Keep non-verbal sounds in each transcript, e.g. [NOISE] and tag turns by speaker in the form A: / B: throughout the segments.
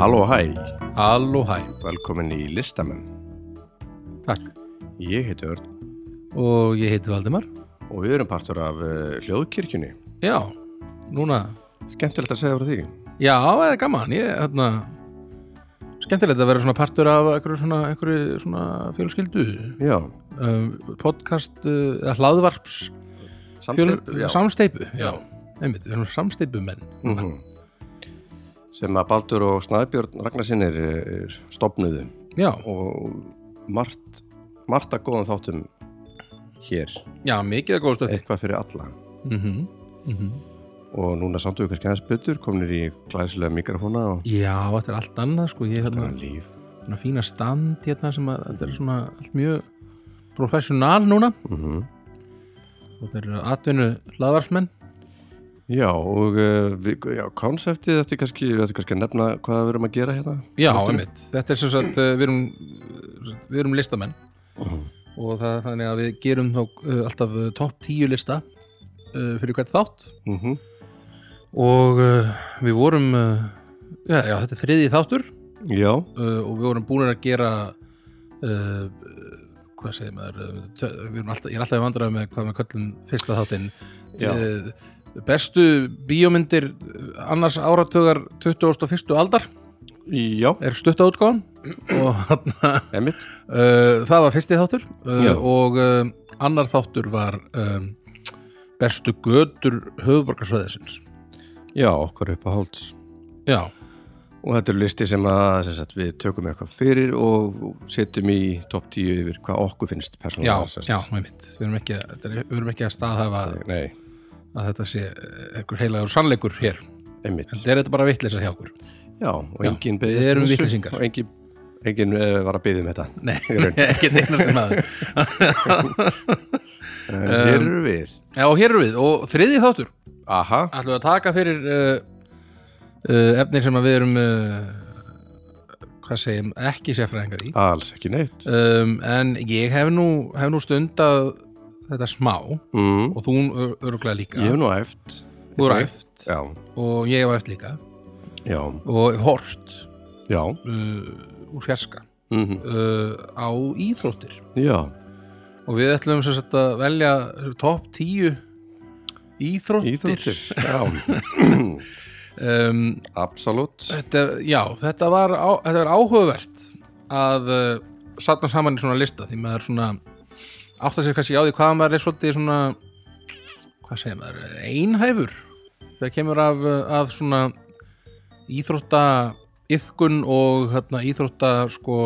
A: Halló hæ,
B: Halló, hæ,
A: velkomin í listamenn.
B: takk.
A: Ég heiti Örn
B: Og ég heiti Valdimar.
A: og við erum partur af uh, hljóðkirkjunni.
B: Já, núna,
A: Skemmtilegt að segja frá því.
B: já, það er gaman, ég, hérna, skemmtilegt að vera svona partur af einhverju svona, einhverju svona fjölskyldu,
A: Já,
B: um, podcast, uh, eða hlaðvarps,
A: samstæð. Já.
B: samsteipu, já, einmitt, við erum samsteipumenn.
A: Mhm. Sem að Baldur og Snæbjörn Ragnarsinnir uh, stopnuðu
B: Já,
A: og margt, margt að góðan þáttum hér.
B: já, mikið að góðstu að þið.
A: Eitthvað fyrir alla.
B: Eh. Mhm, mhm.
A: Og núna samt við kannski aðeins betur, kominir í glæsilega mikrofóna og
B: Já, þetta er allt annað, sko, ég, hérna,
A: mm. líf.
B: hérna fína stand hérna sem að, þetta er svona allt mjög professional núna.
A: Mm
B: Mhm. Þetta eru atvinnu hlaðvarsmenn.
A: Já, og uh, við, já, konseptið, þetta er kannski, þetta er kannski að nefna hvað við erum að gera hérna.
B: Já, einmitt. Þetta er sem sagt, uh, við erum, við erum listamenn og það, þannig að við gerum þá uh, alltaf uh, topp 10 lista uh, fyrir hvert þátt
A: Mm
B: og uh, við vorum, uh, já, já, þetta er þriðji þáttur
A: Já,
B: uh, og við vorum búin að gera, uh, hvað segir maður, uh, tö- við erum alltaf, ég er alltaf í vandræðum með hvað við köllum fyrsta þáttinn,
A: Já.
B: uh, bestu bíómyndir annars áratugar 21. aldar
A: já,
B: er stutta útgáðan og hann
A: emitt.
B: Uh, það var fyrsti þáttur
A: Já.
B: uh, og uh, annar þáttur var um, bestu götur höfuborgarsvæðisins
A: Já, okkar upp á hálts.
B: já,
A: Og þetta er listi sem að sem sagt, við tökum eitthvað fyrir og og setjum í topp 10 yfir hvað okkur finnst
B: já,
A: persónulega.
B: já, með mitt við erum ekki, þetta er- við erum ekki að staðhafa að,
A: Nei,
B: að þetta sé eh, einhver heilagur sannleikur hér,
A: emitt.
B: en þetta er þetta bara vitleisa hjá okkur
A: Já, og
B: Já,
A: enginn
B: við
A: beðið
B: erum
A: þessu
B: vitleysingar.
A: Og enginn, enginn uh, var að beðið um þetta.
B: [LAUGHS] nei,
A: Í raun.
B: ekki neynast maður
A: En hér
B: um-
A: eru við.
B: já, og hér erum við, og þriðji þáttur
A: Aha,
B: ætlum við að taka fyrir uh, uh, efni sem að við erum uh, hvað segjum, ekki sérfræðingar í
A: alls ekki neitt.
B: um, en ég hef nú, hef nú stundað þetta smá og
A: Mm.
B: þú ör- örugglega líka
A: Ég hef nú æft.
B: þú er æft
A: Já,
B: og ég hef æft líka
A: já,
B: og hef hort
A: já.
B: uh, úr fjarska
A: Mm
B: uh, á íþróttir
A: Já,
B: og við ætlum sem sagt að velja topp 10 íþróttir,
A: íþróttir. Já, [LAUGHS]
B: Um,
A: absolutt.
B: þetta, já, þetta var, á, þetta var áhugavert að uh, satna saman í svona lista því maður svona átta sér kannski á því hvað maður er svolítið svona hvað segir maður, einhæfur þegar kemur af, uh, að svona íþrótta yfkun og hérna, íþrótta sko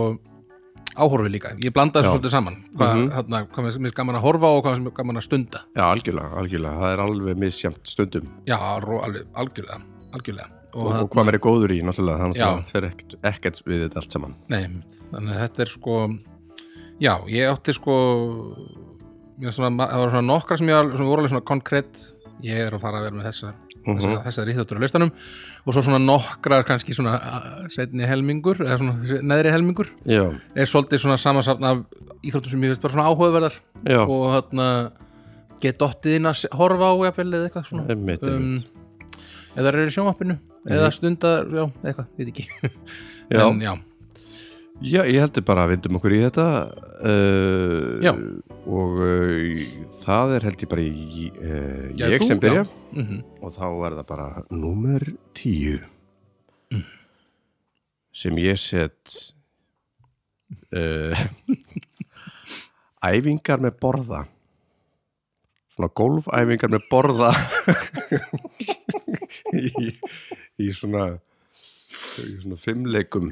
B: áhorfi líka ég blanda
A: Já.
B: þessu svolítið saman hvað, mm
A: Mhm.
B: -hmm. hérna, hvað mér finnst gaman að horfa og hvað mér finnst gaman að stunda
A: Já, algjörlega, algjörlega. Það er alveg misjæmt stundum.
B: já, ró- alveg, algjörlega, algjörlega
A: og,
B: hérna-
A: og hvað maður er góður í náttúrulega þannig að
B: Já.
A: það fer ekkert, ekkert við þetta allt saman
B: Nei, einmitt. þannig að þetta er sko já, ég átti sko mér svona, ma- það var svona nokkra sem ég var, sem voru alveg svona konkrétt ég er að fara að vera með þessar
A: Mhm.
B: þessar, þessar íþjóttur á listanum og svo svona nokkrar kannski svona a- seinni helmingur, eða svona neðri helmingur
A: já,
B: er svolítið svona samansapn af íþróttum sem ég veist bara svona áhugaverðar
A: já,
B: og þarna get dottið inn að se- horfa á jafnvel eða eitthvað svona
A: einmitt,
B: um,
A: einmitt. Mhm.
B: eða eru í sjónvarpinu eða stundar, já, eitthvað, veit ekki
A: Já.
B: en já,
A: já, ég heldur bara að vindum okkur í þetta uh,
B: Já.
A: og uh, það er heldur bara í, uh,
B: Já,
A: ég
B: þú,
A: sem byrja
B: já. mhm
A: og þá er það bara númer tíu sem ég set uh, [LAUGHS] æfingar með borða svona golfæfingar með borða [LAUGHS] í, í svona í svona fimmleikum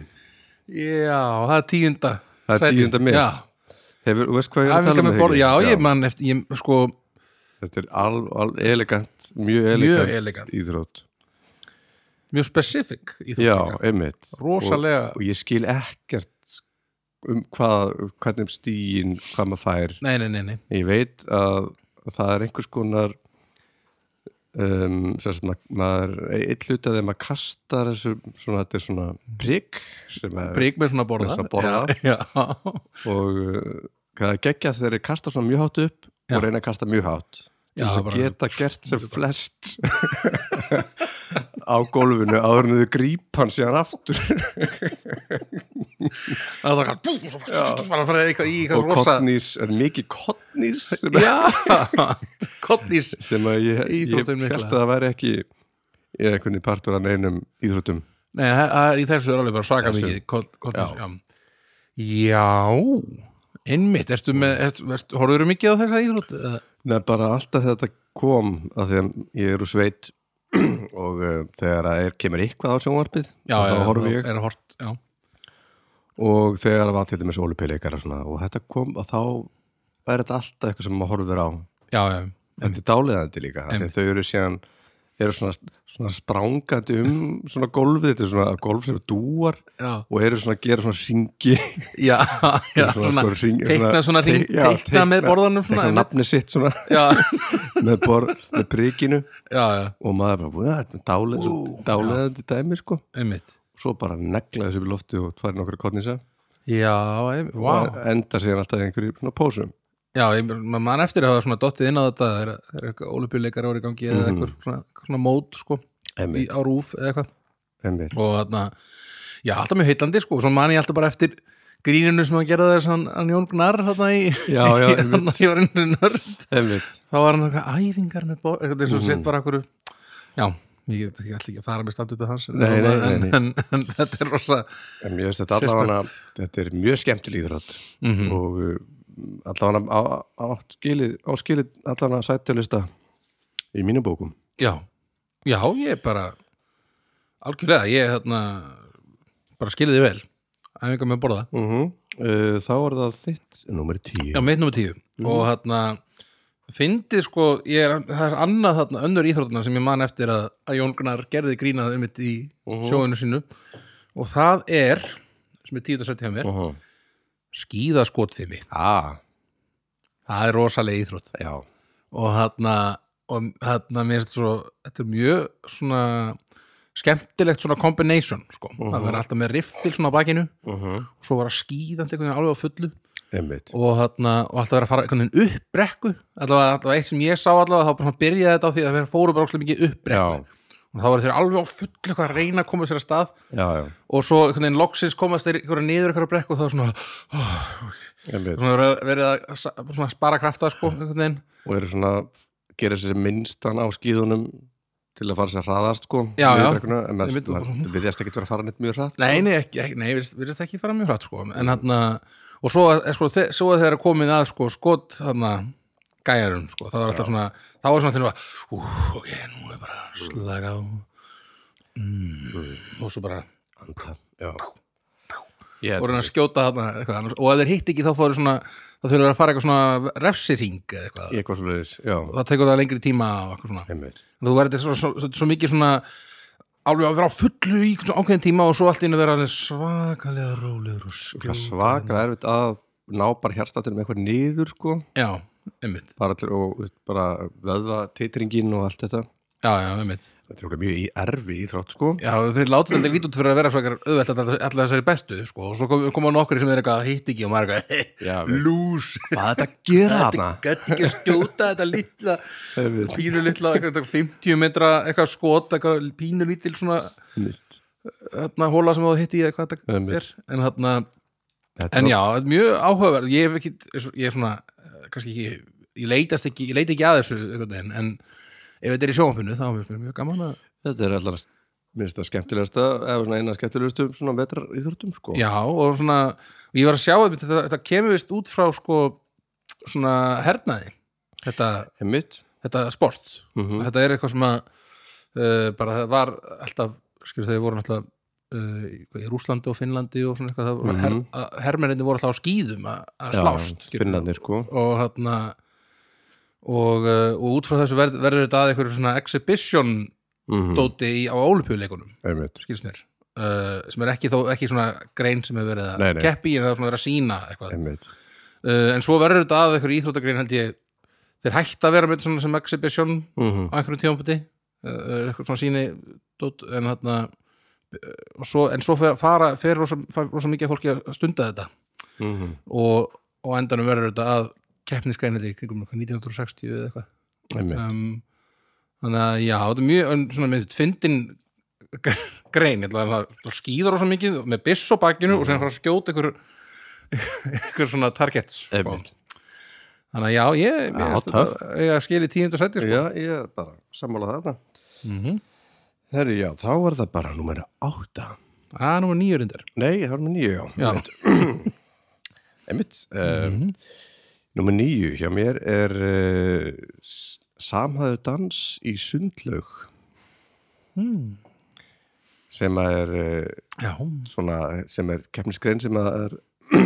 B: Já, það er tíunda
A: Það er
B: sæti.
A: tíunda mitt.
B: Já,
A: hefur, þú veist hvað ég er að
B: æfingar
A: tala um
B: með borð
A: Haukur?
B: Já, ég man eftir, ég, sko,
A: þetta er alveg al, elegant mjög
B: mjög
A: elegant
B: elegant
A: íþrótt
B: Mjög specific í
A: já,
B: þetta
A: einmitt
B: Rosalega
A: og ég skil ekkert um hvað, hvernig stíin hvað maður fær
B: Nei, nei, nei, nei
A: ég veit að það er einhvers konar um, sem sagt, ma- maður eitt hluta þegar maður kastar þessu svona, þetta er svona prigg sem er
B: Prík með svona borða
A: Með
B: [LAUGHS]
A: svona borða.
B: Já, já,
A: og uh, hvað er geggja þegar þeir kasta svona mjög hátt upp
B: Já.
A: og reyna að kasta mjög hátt til
B: Já,
A: þess
B: það
A: að
B: bara-
A: geta gert sem flest á gólfinu áður en þau gríp hann síðan aftur
B: Það var [LAUGHS] það og svo var að fara í eitthvað
A: og
B: í eitthvað [LAUGHS] rosa
A: kottnís, er mikið kottnís sem,
B: Já, [LAUGHS] kottnís
A: sem að ég, ég
B: Íþróttum mikla.
A: held að það væri ekki eða einhvern partur af neinum íþróttum
B: Nei, það það er í þessu er alveg bara svaka
A: Þessu.
B: mikið kott- kottnís Já, já einmitt, ertu með ertu, ertu, horfðurðu mikið á þessa íþrótt? eða?
A: Nei, bara alltaf þegar þetta kom að því að ég er úr sveit [CLEARS THROAT] og uh, þegar að er, kemur eitthvað á sjónvarpið
B: Já,
A: þá
B: já,
A: horfi ég
B: er hort, já
A: og þegar það var til dæmis ólupilleikar og svona og þetta kom og þá er þetta alltaf eitthvað sem maður horfir á
B: Já, já,
A: þetta er dáliðandi líka af því að þau eru síðan eru svona, svona sprangandi um svona gólfið þetta er svona gólf sem dúar
B: já,
A: og eru svona að gera svona ringi
B: já, [LAUGHS] já
A: [LAUGHS] svona,
B: svona,
A: sko, hring-
B: teikna svona ring,
A: [LAUGHS] já,
B: teikna með borðanum svona,
A: teikna
B: einmitt.
A: nafni sitt svona [LAUGHS]
B: Já,
A: með, borð, með prikinu
B: já, já,
A: og maður bara, "Vá, þetta er dále- svo dáleðandi dæmi sko
B: einmitt
A: svo bara negla þessu upp í loftu og tvær nokkru kottnisa
B: Já, einmitt, vá
A: og enda síðan alltaf í einhverju svona pósum
B: Já, ég- maður man eftir að hafa svona dottið inn á þetta þegar þegar eitthvað ólupjuleikar voru í gangi eða
A: Mhm.
B: eitthvað svona, svona mót sko í,
A: emmi,
B: á rúf eða eitthvað
A: emmi,
B: og þarna, já, alltaf mjög heillandi sko og svo man ég alltaf bara eftir gríninu sem hann gerði þess hann, hann Jón Gnarr þarna í
A: Já, já,
B: [LAUGHS] í- þarna því var einu nörd
A: emmi
B: þá var hann eitthvað æfingar með bóð eitthvað
A: Mm.
B: eins og sett bara okkur já, ég get ég ætla ekki að fara með standu upp hans
A: Nei, nei, nei, nei.
B: En, en, en, en þetta er rosa
A: En ég veist þetta allavega þetta er mjög skemmtileg íþrótt og uh, allavega á, á, á skilið, á skilið allavega sættilista í mínum bókum.
B: já, já, ég bara algjörlega, ég þarna bara skilði þið vel æfingar með borða
A: Mm -hmm. uh, þá er það þitt nummer 10.
B: Já, mitt nummer tíu
A: Mm.
B: og þarna fyndið sko, ég er, það er annað þarna önnur íþrótuna sem ég man eftir að, að Jón Gunnar gerði grínað um mitt í
A: Mhm.
B: sjóinu sínu og það er sem er tíu að setja hjá mér,
A: uh -huh.
B: skíðaskotfimi
A: ah,
B: það er rosalega íþrótt
A: já.
B: og þarna, og þarna mér finnst svo, þetta er mjög svona skemmtilegt svona combination sko, það verður alltaf með riffil svona á bakinu
A: Uh -huh.
B: og svo var að skíðandi einhvern veginn alveg á fullu
A: Einmitt.
B: og, þarna, og alltaf verið að fara einhvern veginn upp brekku allavega, allavega eitt sem ég sá allavega þá bara svona byrjaði þetta á því að þeir fóru bara óslega mikið upp brekku
A: Já,
B: og þá voru þeir alveg á fullu eitthvað að reyna að koma sér að stað
A: já, já.
B: og svo einhvern veginn loksins komast þeir einhverja niður einhverja brekku og þá svona, [GASPS]
A: Einmitt.
B: svona verið- verið að sa- svona spara krafta sko einhvern veginn
A: Og eru svona, gera sér minnstan á skíðunum til að fara sér hraðast sko.
B: Já, já.
A: Niðurbekkuna, En
B: Einmitt.
A: það viljast ekki vera að fara neitt mjög hratt.
B: Nei, nei, ekki, ekki, nei, virðist, virðist ekki fara mjög hratt sko. en hann og svo, er, sko, þe svo að þeirra komið að sko, skot hann gæjarum, sko, þá var alltaf svona þá var svona til að, ú, ok, nú er bara slaga á mm, og svo bara
A: Anda, Já. Ég,
B: og reyna að skjóta þarna eitthvað annars og ef þeir hitt ekki þá fóru svona þá þurfum þeir að fara eitthvað svona refsiring eða eitthvað,
A: ég eitthvað svo já,
B: og það tekur það lengri tíma og eitthvað svona
A: einmitt.
B: En þú verður svo, svo, svo, svo mikið svona alveg að vera á fullu í einhvern ákveðin tíma og svo allt inn að vera alveg svakalega rólegur og
A: Það er
B: skjóð
A: svakra erfitt að ná bara hjartstáttunum eitthvað niður sko
B: já, einmitt,
A: bara til, og þú veist, bara vöðva titringin og allt þetta
B: já, já, einmitt
A: þetta er okkur mjög í erfi í þrótt sko
B: já, þeir láta þetta lítið út fyrir að vera svakar auðvelt að alltaf þessari bestu, sko og svo kom- koma nokkri sem er eitthvað að hitt ekki og maður er eitthvað
A: Já, við-
B: lús,
A: hvað þetta gera þarna
B: gætt ekki að skjóta þetta litla
A: Einmitt.
B: pínu litla, eitthvað 50 metra eitthvað skot, eitthvað pínu lítil svona
A: Einmitt.
B: hérna, hóla sem þú hitti í eða hvað þetta
A: Einmitt.
B: er en hérna,
A: Þetta
B: en
A: var-
B: já, þetta er mjög áhugaverð ég hef ekki, ég er svona eh, kannski ekki, ég leitast ekki ég leit ekki að þessu, einhvern veginn, en ef þetta er í sjónfinu, þá er mér mjög gaman að
A: þetta er allar minnst að skemmtilegasta eða svona eina skemmtilegustu svona vetrar í þróttum sko
B: já, og svona, og ég var að sjá þetta, þetta, þetta kemur vist út frá sko, svona hernaði þetta,
A: einmitt
B: þetta sport
A: Mhm.
B: þetta er eitthvað sem að uh, bara það var alltaf, skilur þeir voru alltaf Uh, í- í Rússlandi og Finnlandi og svona eitthvað mm -hmm. her, hermenninni voru alltaf á skýðum að að
A: Mhm. Já,
B: slást skilurðu.
A: finnarnir sko
B: og hérna og, uh, og út frá þessu verð, verður þetta að einhverju svona exhibition
A: Mhm.
B: dóti í, á ólupjuleikunum
A: einmitt
B: skilst mér, uh, sem er ekki, þó, ekki svona grein sem er verið
A: Nei,
B: að
A: nei.
B: keppi í, en það er svona verið að sína eitthvað
A: einmitt
B: uh, en svo verður þetta að einhverju íþróttagrein held ég þeir hægt að vera með þetta svona sem exhibition
A: Mhm.
B: á einhverjum tíðanbúti uh, eitthvað svona síni dót, en þarna uh, og svo, en svo fer, fara, fer rosa, fer rosa mikið af fólki að stunda þetta
A: Mhm.
B: Um, og, og á endanum verður þetta að keppnisgreinandi í kringum eitthvað 1960 eða eitthvað
A: einmitt
B: um, þannig að já, þetta er mjög ön- svona með fyndin [LAUGHS] grein ég ætla að það- það skýðar rosa mikið með byss á bakinu og sen fara að skjóta ykkur ykkur svona targets sko.
A: Einmitt.
B: þannig að já, ég,
A: Já,
B: ég,
A: töff.
B: ég, ég skil í tíundu sæti sko. Mhm.
A: Já, ég er bara sammála þarna Herri, já, þá er það bara númer átta
B: að nú er nýjur undir
A: Nei, það er númer nýju, já
B: já,
A: [CLEARS THROAT] Einmitt mm Númer nýju hjá mér er uh, Samhæðu dans í sundlaug sem að er uh,
B: já,
A: svona, sem er keppnisgrein sem að er [CLEARS THROAT]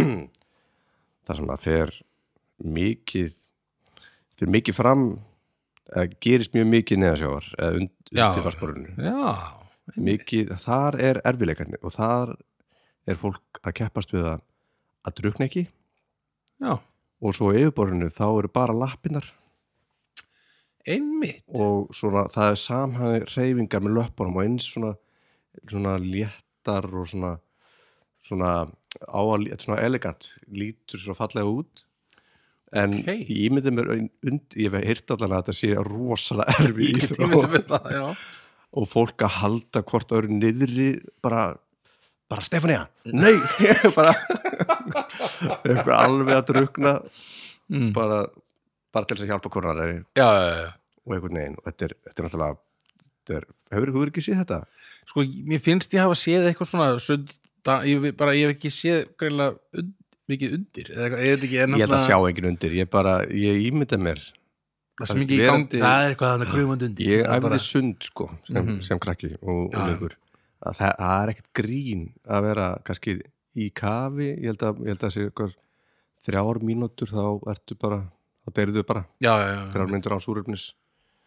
A: það sem að fer mikið fer mikið fram eða gerist mjög mikið neðasjávar eða und,
B: Já.
A: undir farsporunni
B: já.
A: mikið, þar er erfileikarnir og þar er fólk að keppast við að, að drukna ekki
B: já.
A: og svo á yfirborðinu þá eru bara lappinnar
B: einmitt
A: og svona það er samhæði reyfingar með löppunum og eins svona, svona léttar og svona svona, á að, lí- svona elegant lítur svona fallega út en
B: Ókei.
A: ég ímyndi mér ein- und, ég hef heyrt allan að þetta sé
B: [LAUGHS]
A: rosalega erfi
B: ég myndi við það, já
A: og fólk að halda hvort öðru niðri bara, bara Stefania,
B: Mm.
A: nei [LAUGHS] bara eitthvað alveg að drukna
B: Mm.
A: bara, bara til þess að hjálpa hvornar er
B: já, já, já
A: og einhvern veginn og þetta er, þetta er náttúrulega þetta er, hefur þú ekki séð þetta?
B: sko, mér finnst ég hafa séð eitthvað svona sund, da, ég, hef- bara ég hef ekki séð greinlega und, mikið undir eða eitthvað, ég veit ekki, en
A: Ég held að sjá enginn undir, ég bara, ég ímynda mér
B: það sem ekki í gangi,
A: verandi-
B: það er eitthvað þannig grumund undir
A: ég
B: Það er
A: æfði sund sko sem,
B: Mhm.
A: sem krakki og
B: Já, já.
A: ungur að það, það er ekkert grín að vera kannski í kafi ég held að, ég held að sé eitthvað þrjár mínútur þá ertu bara þá deyriðu bara,
B: já, já, já,
A: þrjár mínútur án súröfnis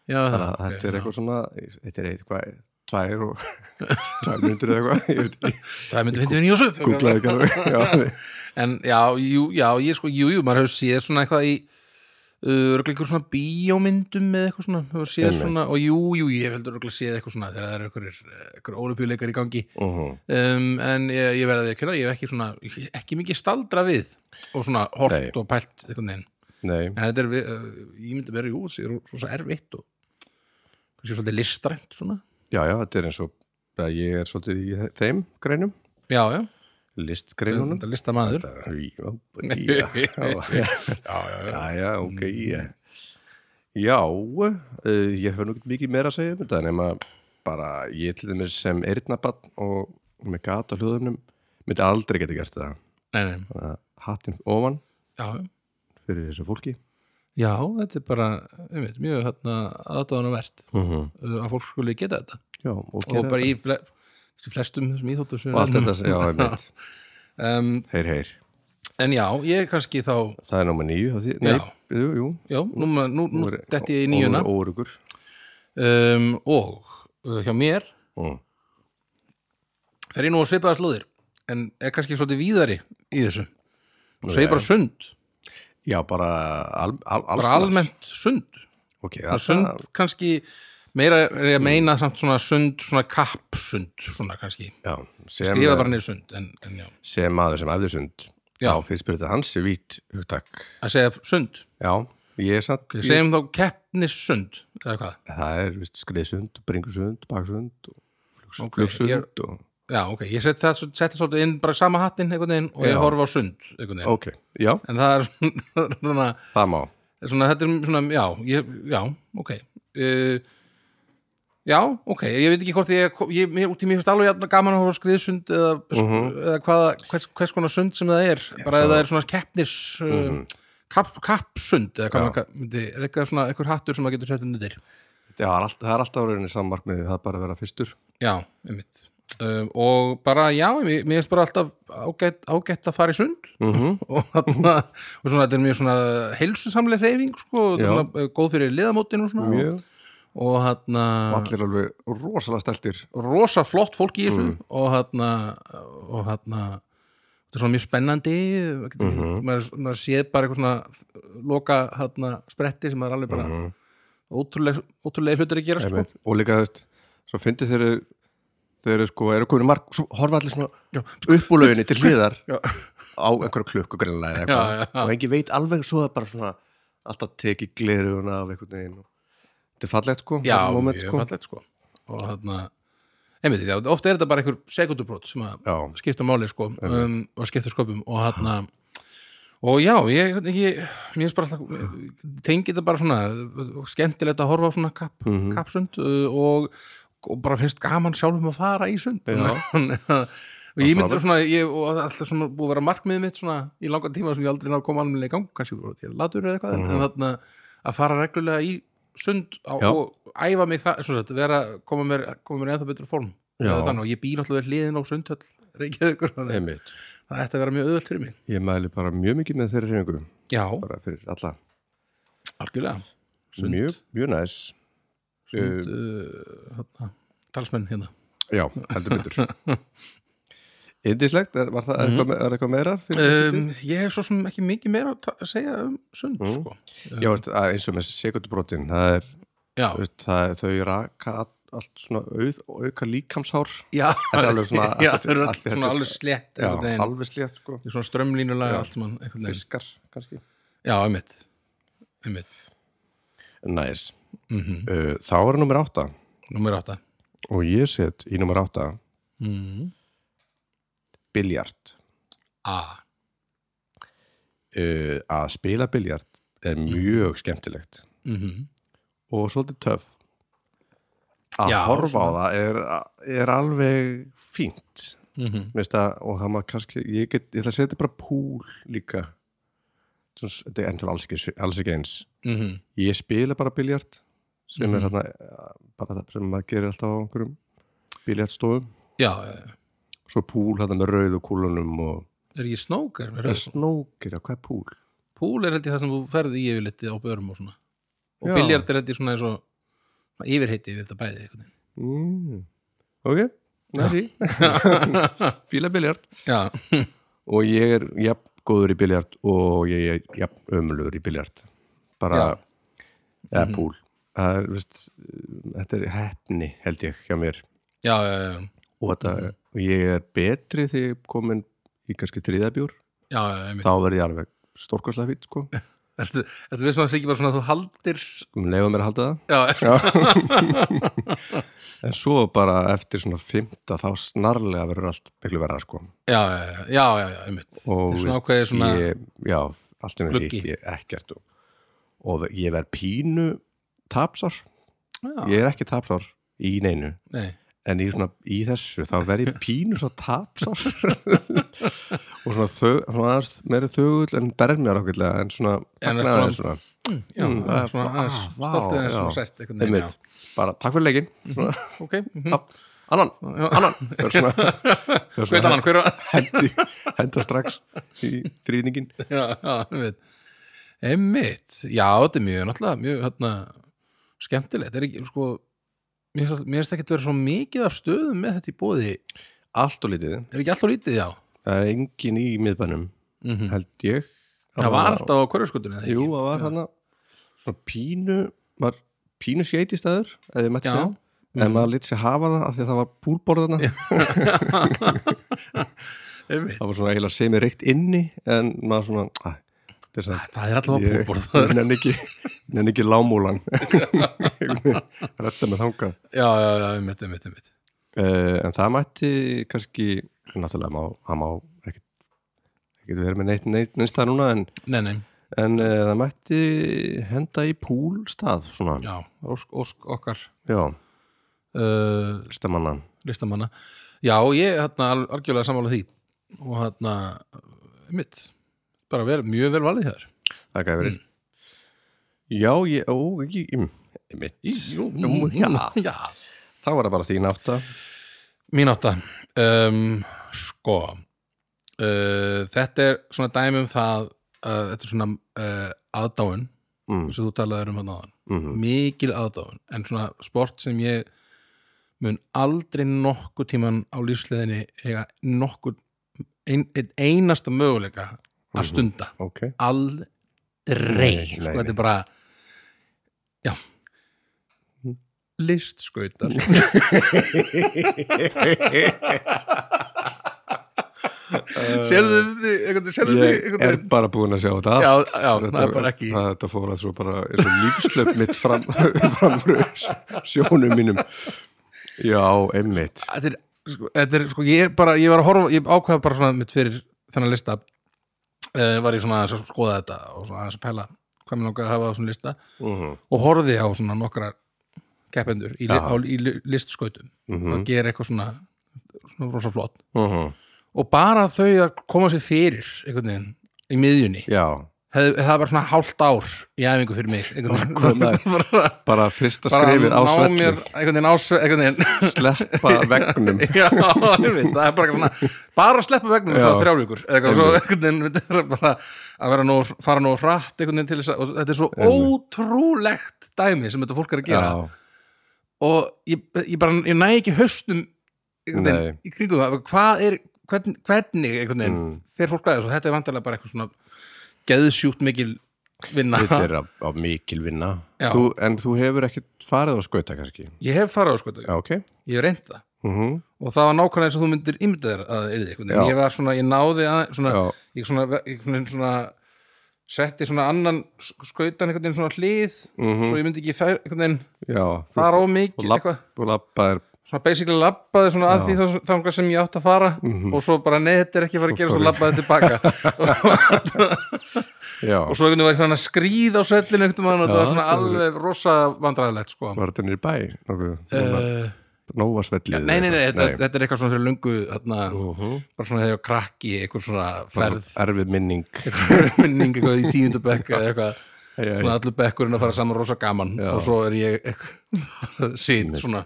B: já,
A: þannig
B: já,
A: að þetta er
B: Ah, já.
A: eitthvað svona þetta er eitthvað, tvær og [LAUGHS] tvær mínútur eða eitthvað ég veit ekki,
B: það myndi finnst við nýjus upp
A: googlaði ekki alveg já,
B: en já, jú, já, ég sko, jú, jú, maður hefur séð svona eitthvað í örgleikur svona bíómyndum með eitthvað svona, hefur séð
A: Einmitt.
B: svona og jú, jú, ég hef heldur örglega séð eitthvað svona þegar það eru einhverjir, eh, einhverjir ólupjuleikar í gangi
A: Mhm.
B: um, en ég, ég verði að kynna ég hef ekki, svona, ekki mikið staldra við og svona hort
A: Nei.
B: og pælt einhvern veginn,
A: nei
B: en þetta er við, uh, ég myndi vera, jú, það er svo, svo erfitt og kannski svolítið listrænt svona,
A: Já, já, þetta er eins og að ég er svolítið í þeim greinum,
B: já, já
A: listgreinunum.
B: þetta er listamaður
A: Já, já, já,
B: já, já, já,
A: já, já, ok, já. Já, uh, ég hef nú ekkert mikið meira að segja um þetta, nema bara ég til dæmis sem erinabann og með gata hljóðumnum myndi aldrei geta gert það.
B: nei, nei,
A: Þannig að Hattinn ofan
B: já, já
A: fyrir þessu fólki.
B: Já, þetta er bara, um veit, mjög hérna, aðdáðanavert
A: Mhm.
B: uh, að fólk skuli geta þetta
A: Já, og
B: og
A: gera
B: bara
A: þetta.
B: í fle flestum þessum íþóttum sem
A: Og allt
B: erum-
A: þetta,
B: [LAUGHS]
A: já, einmitt.
B: um,
A: Heyr, heyr.
B: En já, ég kannski þá,
A: Það er náma nýju, það því, nei,
B: Já.
A: jú, jú.
B: já, nú, nú, nú, nú
A: er-
B: detti ég í nýjuna
A: og- og Órugur.
B: um, og uh, hjá mér
A: Mm.
B: fer ég nú að svipaða slóðir en er kannski svolítið víðari í þessu og
A: Nú,
B: segi
A: já.
B: bara sund,
A: Já, bara, al, al, alls
B: bara
A: konar.
B: almennt sund
A: Ok,
B: það
A: það,
B: er sund kannski meira er ég að meina samt svona sund, svona kappsund svona kannski,
A: já, sem,
B: skrifa bara niður sund en, en já,
A: sem maður sem æfði sund
B: Já.
A: þá finnst mér þetta hansi vít hugtak
B: að segja sund
A: já, ég er satt
B: við segjum þá keppnissund eða hvað,
A: það er vist skriðsund, bringusund, baksund og flugs,
B: Ok,
A: flugsund
B: ég-
A: og,
B: já ok, ég seti það seti svolítið inn bara í sama hattinn einhvern veginn og
A: Já.
B: ég horfa á sund einhvern veginn,
A: ok, já,
B: en það er svona, [LAUGHS] það er svona
A: það má
B: svona, þetta er svona, já, ég, já, ok uh, já, ok ég veit ekki hvort ég, ég mér, út í mér finnst alveg jafn gaman að horfa á skriðsund eða, eða hvaða, hvers, hvers konar sund sem það er
A: Mhm.
B: bara
A: svo- Mhm.
B: eða það er svona keppnis uh, kapp, kappsund eða hvað
A: Já.
B: maður ka- myndi, er eitthvað svona, eitthvað hattur sem maður getur sett undir
A: já, það er allt- það er alltaf rauninni sammarkmiði það er bara að vera fyrstur
B: já, einmitt Um, og bara, já, mér mér finnst bara alltaf ágætt, ágætt að fara í sund
A: mm -hmm.
B: [LAUGHS] og, þarna, og svona, þetta er mjög svona heilsusamlega hreyfing, sko, og
A: Já.
B: þarna, eh, góð fyrir liðamótin og svona og-
A: mjög,
B: og hérna
A: og allir alveg rosalega steltir
B: rosa flott fólk í þessu og hérna og hérna þetta er svona mjög spennandi maður getur- maður, maður séð bara eitthvað svona loka hérna spretti sem er alveg bara mm ótrúlega, ótrúlega hlutur að gera sko.
A: Einmitt. og líka, þú veist, svo fyndi þeir eru- þeir eru sko, eru komin marg svo horfa allir svona upp úr lauginni til hliðar
B: Já.
A: á einhverju klukku greinlega eða
B: Já, já,
A: eitthvað og engin veit alveg svo það bara svona alltaf teki gleruguna af einhvern veginn og þetta er fallegt sko,
B: já,
A: þetta moment,
B: mjög
A: sko.
B: fallegt sko og hérna einmitt, já, ofta er þetta bara einhver sekundubrót sem að
A: já,
B: skipta máli sko um, og skipta sköpum og hérna og já, ég, hérna, ég mér finnst bara alltaf, tengi þetta bara svona skemmtilegt að horfa á svona kapp,
A: Mhm.
B: kappsund uh, og, og bara finnst gaman sjálfum að fara í sund
A: Já.
B: [LAUGHS] og ég myndi svona ég, og alltaf svona búið að vera markmiðið mitt svona í langan tíma sem ég aldrei ná að koma alveg í gang kannski bara til latur
A: Mhm.
B: eða eitthvað en þarna að fara reglulega í sund á,
A: Já.
B: og æfa mig það, svona sagt, vera, koma mér, koma mér ennþá betur form
A: Já.
B: Eða þannig, og ég býr alltaf hliðin á sundhöll Reykjavíkur, þannig að
A: einmitt
B: það ætti að vera mjög auðvöld fyrir mig
A: ég mæli bara mjög mikið með þeirri reyningu
B: Já,
A: bara fyrir alla,
B: algjörlega Sund.
A: mjög, mjög næs
B: Sund, uh, þarna, talsmenn hérna
A: Eh, já, heldur betur
B: [LAUGHS]
A: indislegt, er, var það er eitthvað, me- er eitthvað meira fyrir
B: Mhm. um, Ég hef svo sem ekki mikið meira að ta- að segja um sund
A: Mm.
B: sko.
A: Já, veist, að eins og með sekundubrotin það er,
B: Já,
A: þú veist, það, þau raka all- allt svona auð, auka líkamshár
B: já
A: Þetta er alveg svona-
B: [LAUGHS] Já, það eru
A: allt-
B: allt
A: allt-
B: svona alveg slett
A: já,
B: einhvern veginn.
A: alveg slétt sko
B: Í Svona strömlínulega
A: Já.
B: allt mann einhvern veginn.
A: fiskar kannski
B: Já, einmitt Einmitt,
A: næs,
B: mm
A: uh, þá er nummer átta
B: númer átta
A: og ég set í nummer átta
B: mm.
A: biljart
B: A,
A: uh, að spila biljart er mjög skemmtilegt
B: mm
A: og svolítið töff að
B: Já,
A: horfa
B: svona.
A: á það er, er alveg fínt
B: Mhm.
A: Veist að, og það maður kannski ég, get, ég ætla að setja bara púl líka Svona s- þetta er endur alls ekki, alls ekki eins
B: Mhm.
A: ég spila bara biljart sem er hérna eh, bara það sem maður gerir alltaf á einhverjum biljartstofum
B: Já, já, já.
A: svo púl hérna með rauðu kúlunum og
B: er ekki snókar með
A: Rauð.
B: rauð?
A: snókir, já, hvað er púl?
B: Púl er held ég það sem þú ferði í yfirliti á börum og svona og
A: Já.
B: biljart er held ég svona eins og svona yfirheiti yfir þetta bæði einhvern veginn.
A: Mm. ok, næsí fíla biljart
B: Já,
A: og ég er jafn góður í biljart og ég er jafn ömulugur í biljart bara
B: Já.
A: eða púl það er, veist, þetta er hefni held ég hjá mér
B: já, já, já,
A: og, þetta, og ég er betri þegar ég komin í kannski þriðabjór
B: já, já, einmitt.
A: þá verð ég alveg stórkoslega fýtt sko
B: [LAUGHS] Ertu, ertu við svona ekki bara svona að þú haldir
A: um leiða mér að halda það
B: Já,
A: [LAUGHS] en svo bara eftir svona fymta þá snarlega verður allt miklu verra sko
B: já, já, já, já, já, já einmitt
A: og
B: Þetta er svona
A: veist,
B: ákveðið svona
A: ég, já, allt um
B: Gluggi.
A: hitt ég ekkert og, og ég verð pínu tapsár,
B: já,
A: ég er ekki tapsár í neinu,
B: Nei,
A: en í, svona, í þessu þá verð
B: [LAUGHS]
A: ég pínu svo tapsár [LAUGHS] og svona, þau, svona aðeins meiri þögull en bermjar ákveðlega en svona,
B: En
A: fagna
B: svona-
A: aðeins svona
B: já,
A: Mm,
B: það er svona
A: ah,
B: aðeins
A: vá,
B: stoltið aðeins
A: já.
B: svona sært einhvern veginn
A: einmitt, bara takk fyrir leikin svona,
B: já. Ok, mhm.
A: mm. annan,
B: Já.
A: annan það er
B: [LAUGHS]
A: svona, það er
B: hvað er
A: svona
B: annan, hver var
A: hendi, henda strax í þrýningin
B: Já, já, einmitt Einmitt, já, þetta er mjög náttúrulega mjög, hérna, skemmtilegt er ekki, sko Mér finnst all- mér finnst ekki að vera svo mikið af stöðum með þetta í bóði
A: allt og litið,
B: Er ekki alltaf lítið, já
A: það er engin í miðbænum held ég
B: Mhm. Það var alltaf á hverjaskutunni eða ekki?
A: Jú, það var hann svona pínu var pínu séti staður eða ég mætti
B: Já. Mhm.
A: segja en maður lit sér hafa það af því að það var púlborðana
B: Einmitt.
A: það var svona eiginlega semi reykt inni en maður svona æ, þetta er
B: Æ,
A: samt-
B: Það er alltaf á
A: ég-
B: búrborð
A: ég nenni ekki, nenni ekki lámúlan retta með þangað
B: [LAUGHS] Já, já, já, einmitt, einmitt, einmitt
A: uh, en það mætti kannski náttúrulega má, það má ekkert ekkert verið með neitt, neitt neins það núna en,
B: Nei, nei,
A: en uh, það mætti henda í púlstað svona,
B: já, ósk, ósk okkar
A: já,
B: uh,
A: listamanna
B: listamanna Já, ég hérna al- algjörlega sammála því og hérna, einmitt bara vel, mjög vel valið þér
A: það gæði
B: Mm.
A: verið já, ég, ó, ég, ég mitt,
B: Í, jú,
A: Jú, já.
B: já
A: þá var það bara þín átta
B: Mín átta um, Sko uh, Þetta er svona dæmi um það uh, Þetta er svona uh, aðdáun
A: mm,
B: eins og þú talaðir um hann áðan
A: mm,
B: mikil aðdáðun en svona sport sem ég mun aldrei nokkuð tíman á lífsleðinni eiga nokkuð ein, ein, einasta möguleika að stunda
A: ok,
B: aldrei
A: Mhm. Nei, nei,
B: sko þetta
A: nei.
B: er bara já
A: Mhm.
B: listskautar
A: [LAUGHS]
B: sérðu þið einhvern- sérðu þið
A: ég
B: einhvern
A: er
B: veginn-
A: bara búin að sjá þetta allt.
B: já, já,
A: Þetta-
B: það er bara ekki
A: það, þetta fór að [LAUGHS] svo bara eins og lífslöp mitt fram, framfru sjónum mínum já, einmitt
B: þetta er, sko, þetta er sko, ég, bara, ég var að horfa ég ákvaða bara svona mitt fyrir þennan lista uh, var ég svona aðeins að skoða þetta og svona aðeins að pæla hvað mér langaði að hafa á svona lista
A: mm -hmm.
B: og horfði á svona nokkrar keppendur í, li,
A: Já.
B: á, í li- listskautum
A: Mm
B: og gera eitthvað svona, svona rosa flott mhm.
A: -hmm.
B: og bara þau að koma sér fyrir einhvern veginn í miðjunni
A: já,
B: Hef, það var svona hálft ár í æfingu fyrir mig
A: [LAUGHS]
B: einhvern veginn
A: Bara
B: bara,
A: bara fyrsta
B: [LAUGHS] bara
A: skrifið á
B: ná
A: svelli
B: mér einhvern veginn á sve- einhvern veginn
A: sleppa
B: [LAUGHS]
A: vegnum
B: Já, einmitt, það er bara eitthvað svona bara að sleppa vegnum
A: Já.
B: frá þrjár vikur eða eitthvað, svo einhvern veginn þetta er bara að vera nú, fara nú hratt einhvern veginn til þess að, og þetta er svo ótrúlegt dæmi sem þetta fólk er að gera
A: já,
B: og ég, ég bara, ég næ ekki haustum einhvern veginn í kringum það, hvað er hvern, hvernig einhvern veginn
A: Mm.
B: fer fólk að þessu, þetta er vantarlega bara eitthvað svona geðsjúkt mikil vinna
A: þetta er á, á mikil vinna
B: Já.
A: þú, en þú hefur ekkert farið á skauta kannski
B: ég hef farað á sko,
A: já, ok
B: ég hef reynd það
A: mm
B: og það var nákvæmlega eins og þú myndir ímyndað þér að það yrði einhvern
A: Já.
B: veginn, ég var svona, ég náði að, svona,
A: já,
B: ég svona, ég svona, svona setti svona annan sk- skautan einhvern veginn svona hlið
A: Mhm.
B: svo ég myndi ekki fær, einhvern veginn
A: já þú,
B: fara á
A: og
B: mikið
A: lapp-
B: eitthvað,
A: og lappa er
B: svona basically labbaði svona að því þá- þangað sem ég átt að fara
A: Mhm.
B: og svo bara nei þetta er ekki að fara að gera svo
A: fór ég. [LAUGHS]
B: labbaði tilbaka
A: já,
B: og svo einhvern veginn var ég svona að skríða á svellinu einhvern veginn og
A: Já,
B: það var svona
A: þetta er-
B: alveg rosa vandræðilegt sko
A: var þetta niður í bæ nokkuð, uh,
B: uh,
A: nóa svellið
B: nei, nei, nei, þetta,
A: nei.
B: þetta er eitthvað svona fyrir lungu þarna,
A: Uh
B: bara svona þegar ég var krakki eitthvað svona ferð
A: erfið minning
B: minning eitthvað í tíundu bekk eða eitthvað,
A: Æ, æ,
B: svona allur bekkurinn að fara saman rosa gaman
A: Já.
B: og svo er ég eitthvað [LAUGHS] sýtt svona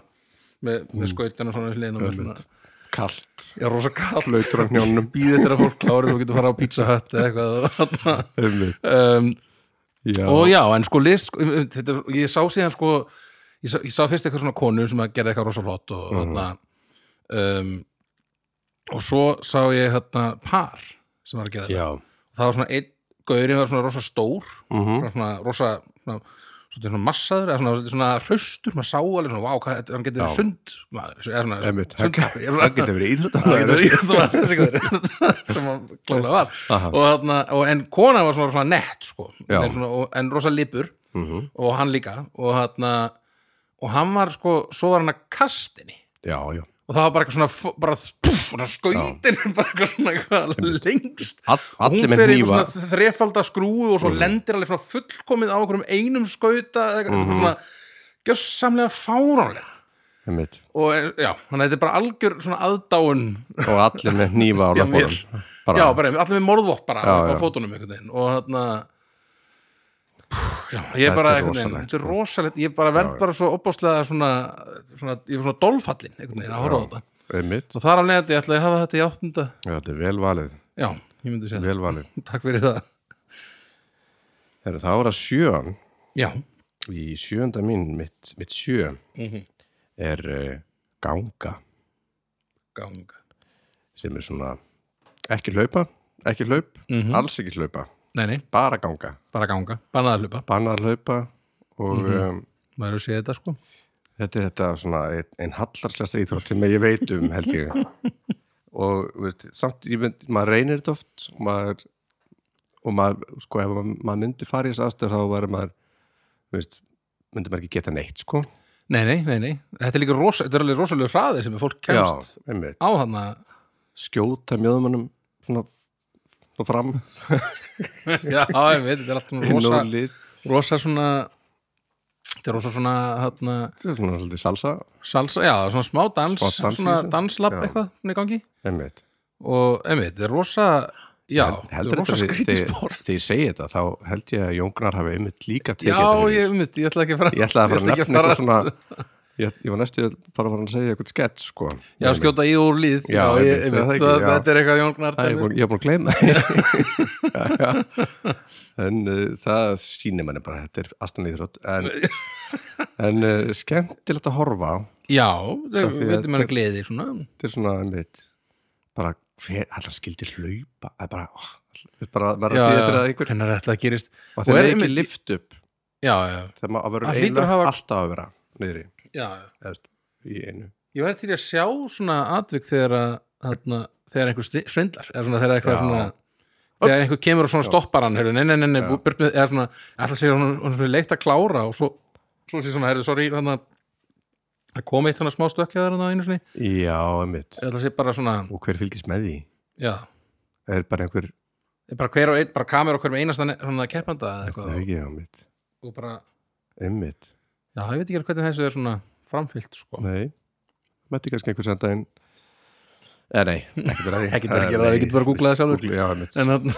B: með, með skautin og svona hliðin á mér svona.
A: kallt
B: já, rosa kall
A: lautur á hnjónum
B: býð þetta að fólk klári og getur fara á Pizza Hut eða eitthvað og-
A: [LAUGHS] Einmitt.
B: um,
A: já,
B: og já, en sko list sko, um, um, þetta, ég sá síðan sko ég sá, ég sá fyrst eitthvað svona konu sem að gera eitthvað rosa flott og
A: Mhm.
B: þarna um, og svo sá ég þarna par sem var að gera þetta
A: já.
B: það var svona einn gaurið var svona rosa stór
A: Mm
B: svona, svona rosa svona, svona, svona massaður eða svona, svona, svona hraustur, maður sá alveg svona, vá, hvað, þetta- hann getur verið
A: Já.
B: sund maður, eða svona,
A: Einmitt, hann-
B: sundkappi eða
A: það
B: svona-
A: getur verið
B: hann getur
A: íþrótt
B: verið það var þessi gaur [LAUGHS] sem hann klálega var
A: Aha.
B: og þarna, og en konan var svona, svona nett sko,
A: Já.
B: en, svona, og, en rosa lipur
A: Mhm.
B: og hann líka og þarna, og hann var sko svo var hann að kastinni
A: já, já,
B: og það var bara eitthvað svona, f- bara pff, svona skautin, [LAUGHS] bara eitthvað svona eitthvað lengst
A: All,
B: Og
A: allir með
B: hún
A: Mm.
B: fer í
A: nýfa
B: eitthvað svona þrefalda skrúu og svo lendir alveg svona fullkomið á einhverjum einum skauta eða eitthvað
A: Mhm.
B: mm -hmm. svona gjössamlega fáránlegt
A: einmitt.
B: og er- já, þannig að þetta er bara algjör svona aðdáun
A: og allir með nýfa á
B: Já,
A: lappunum bara,
B: já, bara allir með morðvopp bara
A: Já,
B: á, á
A: já.
B: fótunum einhvern veginn og þarna Pú, já, ég
A: Þetta
B: er bara
A: er
B: einhvern veginn,
A: rosalegt, sko.
B: þetta er rosalegt ég bara verð bara svo opbáslega svona, svona, ég var svona dolfallin einhvern veginn að horfa á þetta
A: einmitt
B: og þar af leiðandi ég ætlaði að hafa þetta í áttunda
A: já, þetta er vel valið,
B: já, ég myndi segja
A: vel valið.
B: það, takk fyrir það
A: Heru, það voru að sjöan
B: já,
A: í sjönda mín, mitt, mitt sjö
B: Mhm.
A: er uh, ganga
B: ganga
A: sem er svona ekki hlaupa, ekki hlaup
B: Mhm.
A: alls ekki hlaupa,
B: nei, nei,
A: bara ganga
B: bara ganga, bannað að hlupa
A: bannað hlaupa og
B: Mhm.
A: um,
B: maður er að segja þetta sko
A: þetta er þetta svona ein, ein hallarslæsta íþrótt sem ég veit um held
B: [LAUGHS]
A: ég og þú veist, samt ég mynd, maður reynir þetta oft og maður, og maður sko ef maður, maður myndi fara í þess aðstöð þá verður maður þú veist, myndi maður ekki geta neitt sko
B: nei, nei, nei, nei, þetta er líka rosa, þetta er alveg rosalega hraði sem fólk kemst
A: Já, einmitt.
B: á þarna [LAUGHS]
A: skjóta mjöðumannum svona, svona fram
B: já, ég veit, þetta
A: [LAUGHS]
B: er alltaf
A: inn
B: rosa
A: á lið
B: rosa svona þetta er rosa svona þarna,
A: svona svolítið salsa
B: salsa, já, svona smá dans
A: Smá dans í
B: svona
A: þessu.
B: danslapp
A: Já.
B: eitthvað svona í gangi
A: einmitt
B: og einmitt, þetta er rosa já, þetta er
A: heldur
B: rosa
A: þetta þegar- þegar
B: skrítispor
A: þegar ég segi þetta þá held ég að Jóngnar hafi einmitt líka tekið
B: já,
A: þetta fyrir
B: ég, einmitt, ég ætla ekki að fara
A: ég ætlaði að fara að
B: ekki
A: nefna eitthvað svona ég, ég var næstu að fara að fara að segja eitthvað skett sko
B: já, skjóta í úr líð já,
A: Já,
B: ég,
A: einmitt,
B: einmitt,
A: það er ekki,
B: það,
A: já.
B: þetta er eitthvað jónknar
A: Það, ég, er búinn- ég er búin að gleyma
B: [LAUGHS]
A: Já, já. en uh, það sýnir manni bara þetta er astan íþrótt en, en uh, skemmtilegt að horfa á.
B: já,
A: Það því
B: það
A: að
B: veitum
A: þetta-
B: maður gleði svona
A: þetta er svona einmitt, bara hver, allar skildi hlaupa það er bara, oh, það er bara að vera
B: já,
A: að býða til
B: já,
A: það einhver
B: hennar þetta gerist
A: og
B: Og
A: þeir
B: er
A: eru ekki
B: einmitt-
A: lift upp
B: já, já,
A: þegar maður verður
B: Það hlýtur
A: eiginlega
B: að hafa-
A: alltaf að vera niðri
B: já, já
A: eða, þú veist, í einu
B: Ég væri til í að sjá svona atvik þegar að þarna, þegar einhver sti- svindlar eða svona þegar eitthvað
A: Já.
B: svona þegar einhver kemur og svona stoppar hann heyrðu, nei, nei, nei, nei,
A: Já.
B: burt með, eða svona alltaf sér hún, hún svona leitt að klára og svo, svo sé svona, heyrðu, sorry, þannig að það kom eitt svona smá stökkjaður þarna einu sinni
A: já, einmitt
B: ég ætla að sé bara svona,
A: og hver fylgist með því?
B: já
A: er bara einhver,
B: bara hver og einn, bara kamer og hverjum einasta ne- svona keppanda eða
A: það
B: eitthvað
A: er ekki, já, einmitt
B: og bara,
A: einmitt,
B: já, ég veit ekki alveg hvernig þessu er svona framfyllt, sko
A: nei mætti kannski einhver senda inn eða nei, ekkert
B: [LAUGHS]
A: verið að því
B: Ekkert verið að gera það, við getum bara að googla það sjálfur.
A: Googla- já, einmitt,
B: en þarna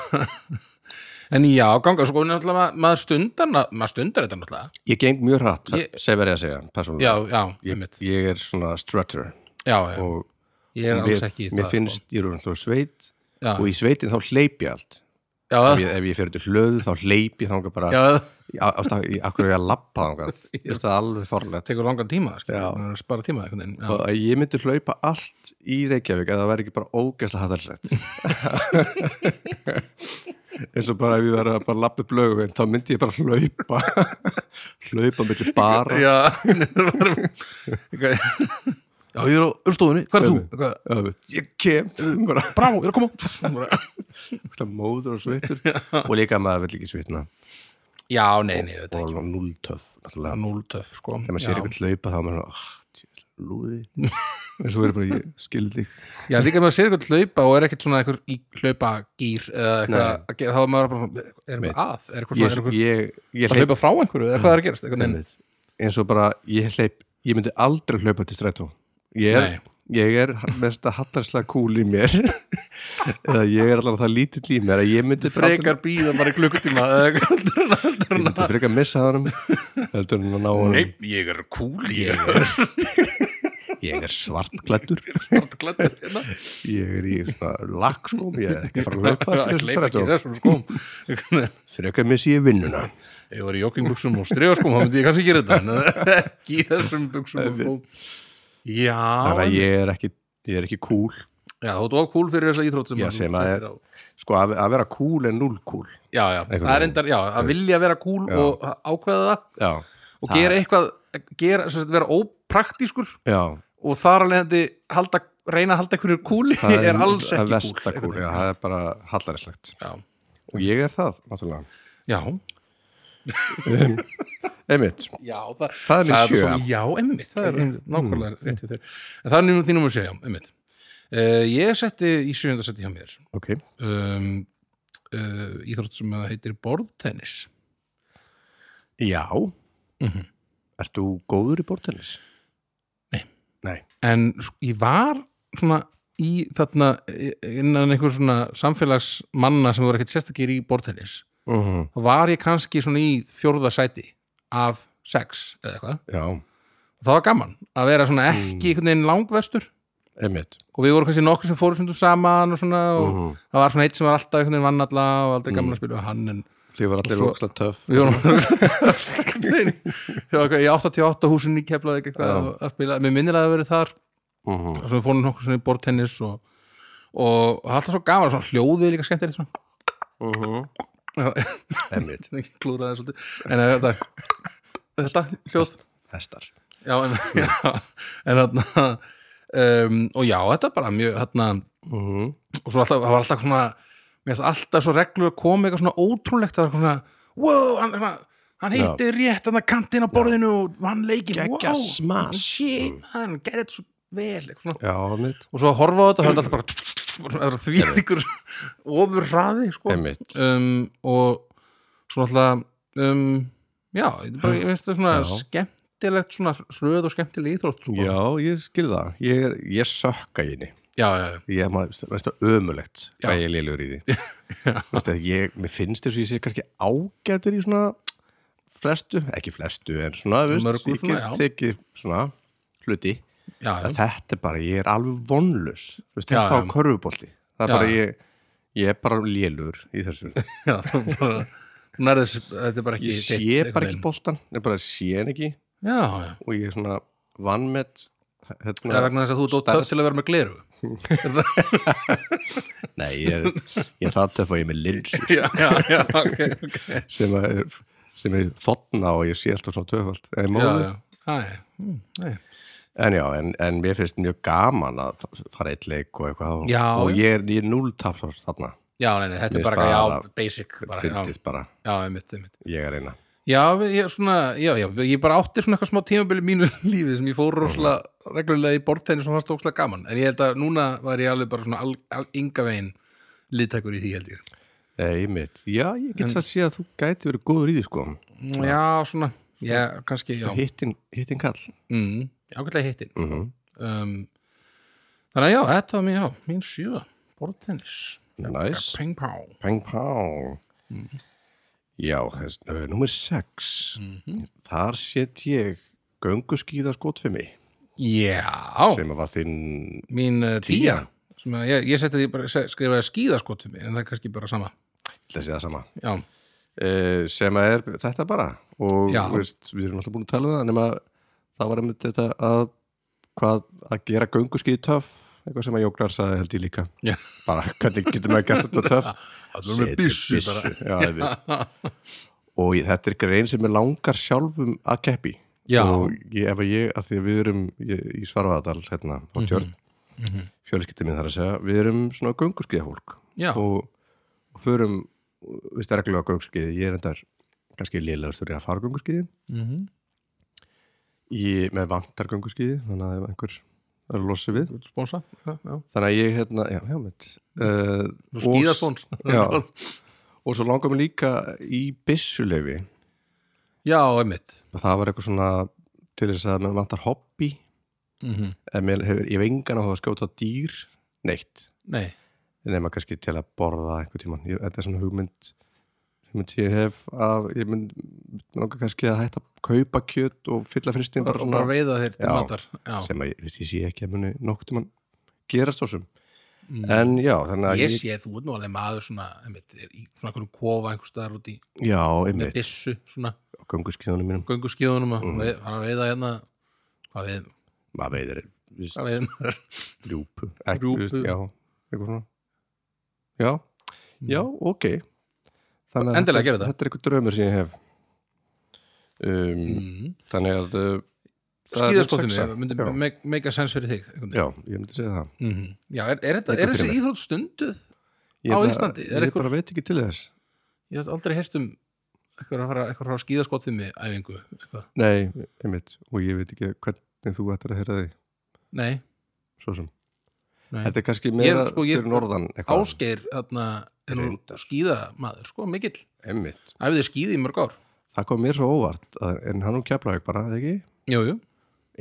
B: [LAUGHS] en já, ganga, sko, náttúrulega ma- maður stundar, na- maður stundar þetta náttúrulega
A: ég geng mjög hratt
B: Ég-
A: sem verið að segja,
B: já,
A: persónulega
B: já,
A: ég,
B: einmitt
A: ég er svona strutter
B: já, já,
A: og
B: ég er alls
A: mér,
B: ekki í
A: mér
B: það,
A: finnst, ég er orðinlega sveit
B: sko. já,
A: og í sveitin þá hleyp ég allt ef
B: já,
A: ég, ef ég fer út í hlöðu þá hleyp ég þangað bara
B: já,
A: á- ástæða- í- af hverju er ég að lappa
B: [LAUGHS]
A: þangað Veist það er alveg forlegt
B: tekur langan tíma skilur,
A: Já.
B: maður er að spara tíma einhvern veginn já.
A: og ég myndi hlaupa allt í Reykjavík eða það væri ekki bara ógeðslega
B: [LAUGHS]
A: hattarlegt eins og bara ef ég verið að bara lappa upp lögum þá myndi ég bara hlaupa [LAUGHS] hlaupa myndi bara
B: já [LAUGHS] Eitthvað- já, ég er á urstofunni, hvað er þú?
A: Einmitt.
B: Eitthvað,
A: ég kem bara
B: Brá, ég er að koma Bara-
A: ógeðslega móður og svittur og líka að maður vill ekki svitna
B: [LAUGHS] já, nei, nei, þetta
A: og núltöf náttúrulega
B: er núltöf sko.
A: þegar maður sér
B: já.
A: eitthvað hlaupa þá er maður oh, tjöld,
B: [LAUGHS]
A: lúði en svo verður bara ég skildi
B: já, líka ef maður sér eitthvað hlaupa og er ekkert svona eitthvað í hlaupa gýr eða eitthvað, að ge- þá er maður bara svona, er
A: Einmitt.
B: eitthvað að, er eitthvað svona,
A: ég,
B: er eitthvað
A: ég, ég
B: að
A: hleyp
B: hlaupa frá einhverju eða hvað er að gerast einhvern veginn.
A: einmitt. eins og bara ég hleyp ég myndi aldrei hlaupa til strætó ég er,
B: Nei.
A: ég er með þetta hallarslega kúl í
B: [LAUGHS]
A: mér eða ég er allavega það lítill í mér að ég myndi
B: frekar býða bara í klukkutíma eða eitthvað.
A: ég myndi frekar missa þannum heldur en að ná honum
B: [LAUGHS] Nei, ég er kúl, ég er
A: ég er svartklættur
B: svart glættur hérna.
A: ég er í svona laksnum ég er ekki að fara að
B: Ég
A: hlaupa til
B: er að
A: þessum
B: gleypa ekki
A: strætó
B: þessum skóm Einhvern veginn.
A: frekar missi ég vinnuna
B: Ef ég var í joggingbuxum og stregaskóm þá myndi ég kannski gera þetta en [LAUGHS] ekki í þessum buxum og skóm
A: þannig að
B: Já,
A: ég er ekki, ég er ekki kúl
B: já þú ert of kúl fyrir þessa íþrótt sem
A: Já,
B: að þú
A: sem að
B: settir
A: er-
B: á.
A: sko að, að vera cool en null cool
B: Já, já,
A: Einhvern
B: það er
A: veginn.
B: endar, já, að vilja vera kúl
A: Já.
B: og ákveða það
A: já,
B: og
A: Það-
B: gera eitthvað, gera, sem sagt, vera ópraktískur
A: já
B: og þar alveg halda, reyna að halda einhverju kúli [LAUGHS] er, alls
A: það er
B: ekki
A: versta
B: einhvern
A: cool, já,
B: veginn.
A: það er bara hallarislegt
B: Já,
A: og ég er það, náttúrulega
B: já,
A: einmitt,
B: já það,
A: það er mér
B: sagði
A: sjö mm.
B: þú svo, Já, emmitt, það er nákvæmlega rétt í þér En það er nýmum þínum að segja, emmitt uh, Ég setti í sjöunda setti hjá mér
A: ok,
B: um, uh, Íþrótt sem að heitir borðtennis
A: já Mhm. ert þú góður í bortennis?
B: Nei.
A: nei,
B: En sk- ég var svona í þarna eh, innan einhver svona samfélagsmanna sem voru ekkert sérstakir í borðtennis
A: mm
B: þá var ég kannski svona í fjórða sæti af sex eða eitthvað
A: já,
B: það var gaman að vera svona
A: Mm.
B: ekki einhvern veginn langverstur
A: einmitt
B: og við vorum kannski nokkur sem fórum stundum saman og svona og
A: Mhm. Mm.
B: það var svona eitt sem var alltaf einhvern veginn vann alla og aldrei gaman að spila við hann en
A: því var allir
B: Og svo-
A: rokslega töff
B: við vorum [LAUGHS] einhvern veginn við vorum eitthvað í 88 húsinni keflaði eitthvað
A: Já.
B: að spila, mér minnir að það verið þar
A: Mhm.
B: og svo við fórum nokkur svona í bortennis og, og það var alltaf svo gaman svona hljóðið líka skemmtilegt svona
A: Mhm.
B: [LAUGHS]
A: einmitt,
B: klúraði svolítið en eh, þetta, þetta hljóð
A: hestar
B: já, en, [LAUGHS] já, en þarna um, og já, þetta er bara mjög þarna,
A: Mhm.
B: og svo alltaf, það var alltaf svona mér finnst alltaf svo reglur að koma eitthvað svona ótrúlegt, það var eitthvað svona wow, hann, hann, hann heitti rétt hann að kantinn á borðinu og hann leikir
A: Geggja
B: wow,
A: smash.
B: shit, hann gerði þetta svo vel eitthvað svona.
A: já, einmitt
B: og svo að horfa á þetta, það er alltaf bara bara svona því líkur ofur hraði sko.
A: einmitt,
B: um, og svo alltaf um, já, þetta er bara, ég finnst þetta svona
A: Já.
B: skemmtilegt svona hröð og skemmtileg íþrótt sko.
A: já, ég skil það ég, er- ég sökka í henni
B: já, já, já.
A: ég maður, veist það, ömulegt hvað
B: Já.
A: ég lélur í [LAUGHS] því veist það, ég, mér finnst þess að ég sé kannski ágætur í svona flestu, ekki flestu en svona, veist,
B: Mörgu
A: ég
B: svona,
A: get
B: já.
A: tekið svona hluti
B: já, já.
A: en þetta er bara, ég er alveg vonlus veist,
B: Já,
A: þetta á
B: já.
A: körfubolti það er
B: Já,
A: bara,
B: já.
A: ég, ég er bara lélur í þessu,
B: já, það er bara hún er þess, þetta er bara ekki
A: ég
B: þitt,
A: sé
B: einhvern
A: bara ekki
B: veginn.
A: boltan, ég bara sé hann ekki
B: já, já,
A: og ég er svona hérna- vannmett
B: það er vegna þess að þú dótt töf til að vera með gleru
A: nei, ég er, ég er það til að fá ég er með
B: [LAUGHS]
A: linsur
B: [LAUGHS] já, já, já, ok, ok
A: sem að er, sem er þotna og ég sé alltaf svo töfald en,
B: já,
A: já,
B: já, Æ, mm, nei.
A: en já, en, en mér finnst mjög gaman að fa- fara eitt leik og eitthvað og-
B: Já,
A: og
B: já.
A: ég er, ég er núll tapsás þarna
B: já, nei, nei, þetta
A: Mér
B: er bara,
A: bara-
B: já, basic bara, já,
A: fyndið bara,
B: já, einmitt, einmitt
A: ég er eina
B: Já, við- ég, svona, já, já, ég bara átti svona eitthvað smá tímabili mínu [LAUGHS] lífi sem ég fór rosalega reglulega í bortenni sem fannst ókslega gaman en ég held að núna var ég alveg bara svona al, al, ynga veginn liðtækur í því held ég
A: Einmitt. Já, ég get það að sé að þú gæti verið góður í því sko.
B: Já, svona, já, kannski já,
A: Hittin, hittin kall.
B: mm, ágætlega hittin
A: Mm
B: um, Þannig að já, þetta var mér, já, mín sjö bortennis,
A: Næs.
B: ping pong
A: Peng pang. Mm. Já, þess, uh, nummer 6. Þar set ég gönguskíða skotfimi
B: Já,
A: sem að var þinn
B: mín uh,
A: Tía.
B: tía sem að ég, ég seti því bara skrifaði skíðaskotum en það er kannski bara sama
A: lesið það sama.
B: Já,
A: Uh, sem að er þetta bara og
B: Já.
A: þú veist, við erum alltaf búin að tala um það nema það var einmitt þetta að hvað að gera gönguskíði töff eitthvað sem að Jóklar sagði held ég líka
B: Já.
A: bara hvernig getur maður gert þetta
B: [LAUGHS]
A: töff
B: það er með
A: Setja
B: byssu bara
A: Já, ég
B: [LAUGHS]
A: veit. og ég, þetta er grein sem ég langar sjálfum að keppi
B: Já.
A: og ég, ef að ég, að því að við erum ég, í Svarfaðadal hérna á
B: Mhm.
A: tjörn mm minn þar að segja við erum svona gönguskiðahólk
B: Já,
A: og, og förum við sterklega gönguskiði, ég er endar kannski lélegastur í að fara gönguskiði
B: mhm.
A: ég með vantar gönguskiði þannig að ef einhver er að losa við
B: sponsa já, já.
A: þannig að ég hérna, já, já, mitt uh,
B: Þú skíðaspons
A: Já.
B: [LAUGHS]
A: og svo langar mér líka í byssulefi
B: já, einmitt
A: og það var eitthvað svona til þess að mér vantar hobby
B: mhm.
A: en mér hefur, ég hef engan á það að skjóta dýr neitt,
B: Nei,
A: nema kannski til að borða einhver tíma, ég, þetta er svona hugmynd hugmynd sem ég hef að ég mynd, langar kannski að hætta að kaupa kjöt og fylla fristin
B: bara,
A: bara
B: bara
A: svona
B: veiða þér til
A: Já.
B: matar já.
A: sem að ég, veist, ég sé ekki að muni nokkuð tíma gerast ásum
B: Mm.
A: en já, þannig að
B: Ég sé þú ert nú alveg maður svona, einmitt, er í svona einhverjum kofa einhvers staðar út í
A: já,
B: með
A: einmitt,
B: byssu, svona
A: á gönguskiðunum mínum
B: göngu skíðunum að
A: Mhm.
B: mm. fara að veiða hérna hvað veið,
A: maður veiðir, viðst,
B: hvað veið maður
A: rjúpu ekki,
B: Rjúpu.
A: Viðst, já, eitthvað svona já, já, ok þannig
B: Endilega
A: þetta,
B: gerðu það.
A: þetta er eitthvað draumur sem ég hef um,
B: mm.
A: þannig að uh, það er
B: skíðaskotum,
A: sexa.
B: myndi
A: Já.
B: make- make a sense fyrir þig einhvern veginn.
A: já, ég myndi segja það
B: Mm Já, er, er, þetta,
A: Þetta
B: er þessi
A: fyrir mér.
B: íþrótt stunduð?
A: ég
B: Á
A: bara-
B: Íslandi, er
A: ég
B: eitthvað-
A: bara veit ekki til þess
B: Ég hef aldrei heyrt um eitthvað að fara, eitthvað að fara að skýða skottið með æfingu eitthvað.
A: nei, einmitt, og ég veit ekki hvernig þú ættir að heyra því
B: Nei,
A: svo sem,
B: nei.
A: þetta er kannski
B: Ég-
A: meira
B: sko, ég-
A: fyrir norðan eitthvað,
B: Ásgeir þarna, er nú
A: Reyndar.
B: skýðamaður, sko, mikill
A: einmitt
B: Æfið þið skýði í mörg ár
A: það kom mér svo óvart, að, en hann hún keflaði bara, eða ekki,
B: Jú, jú,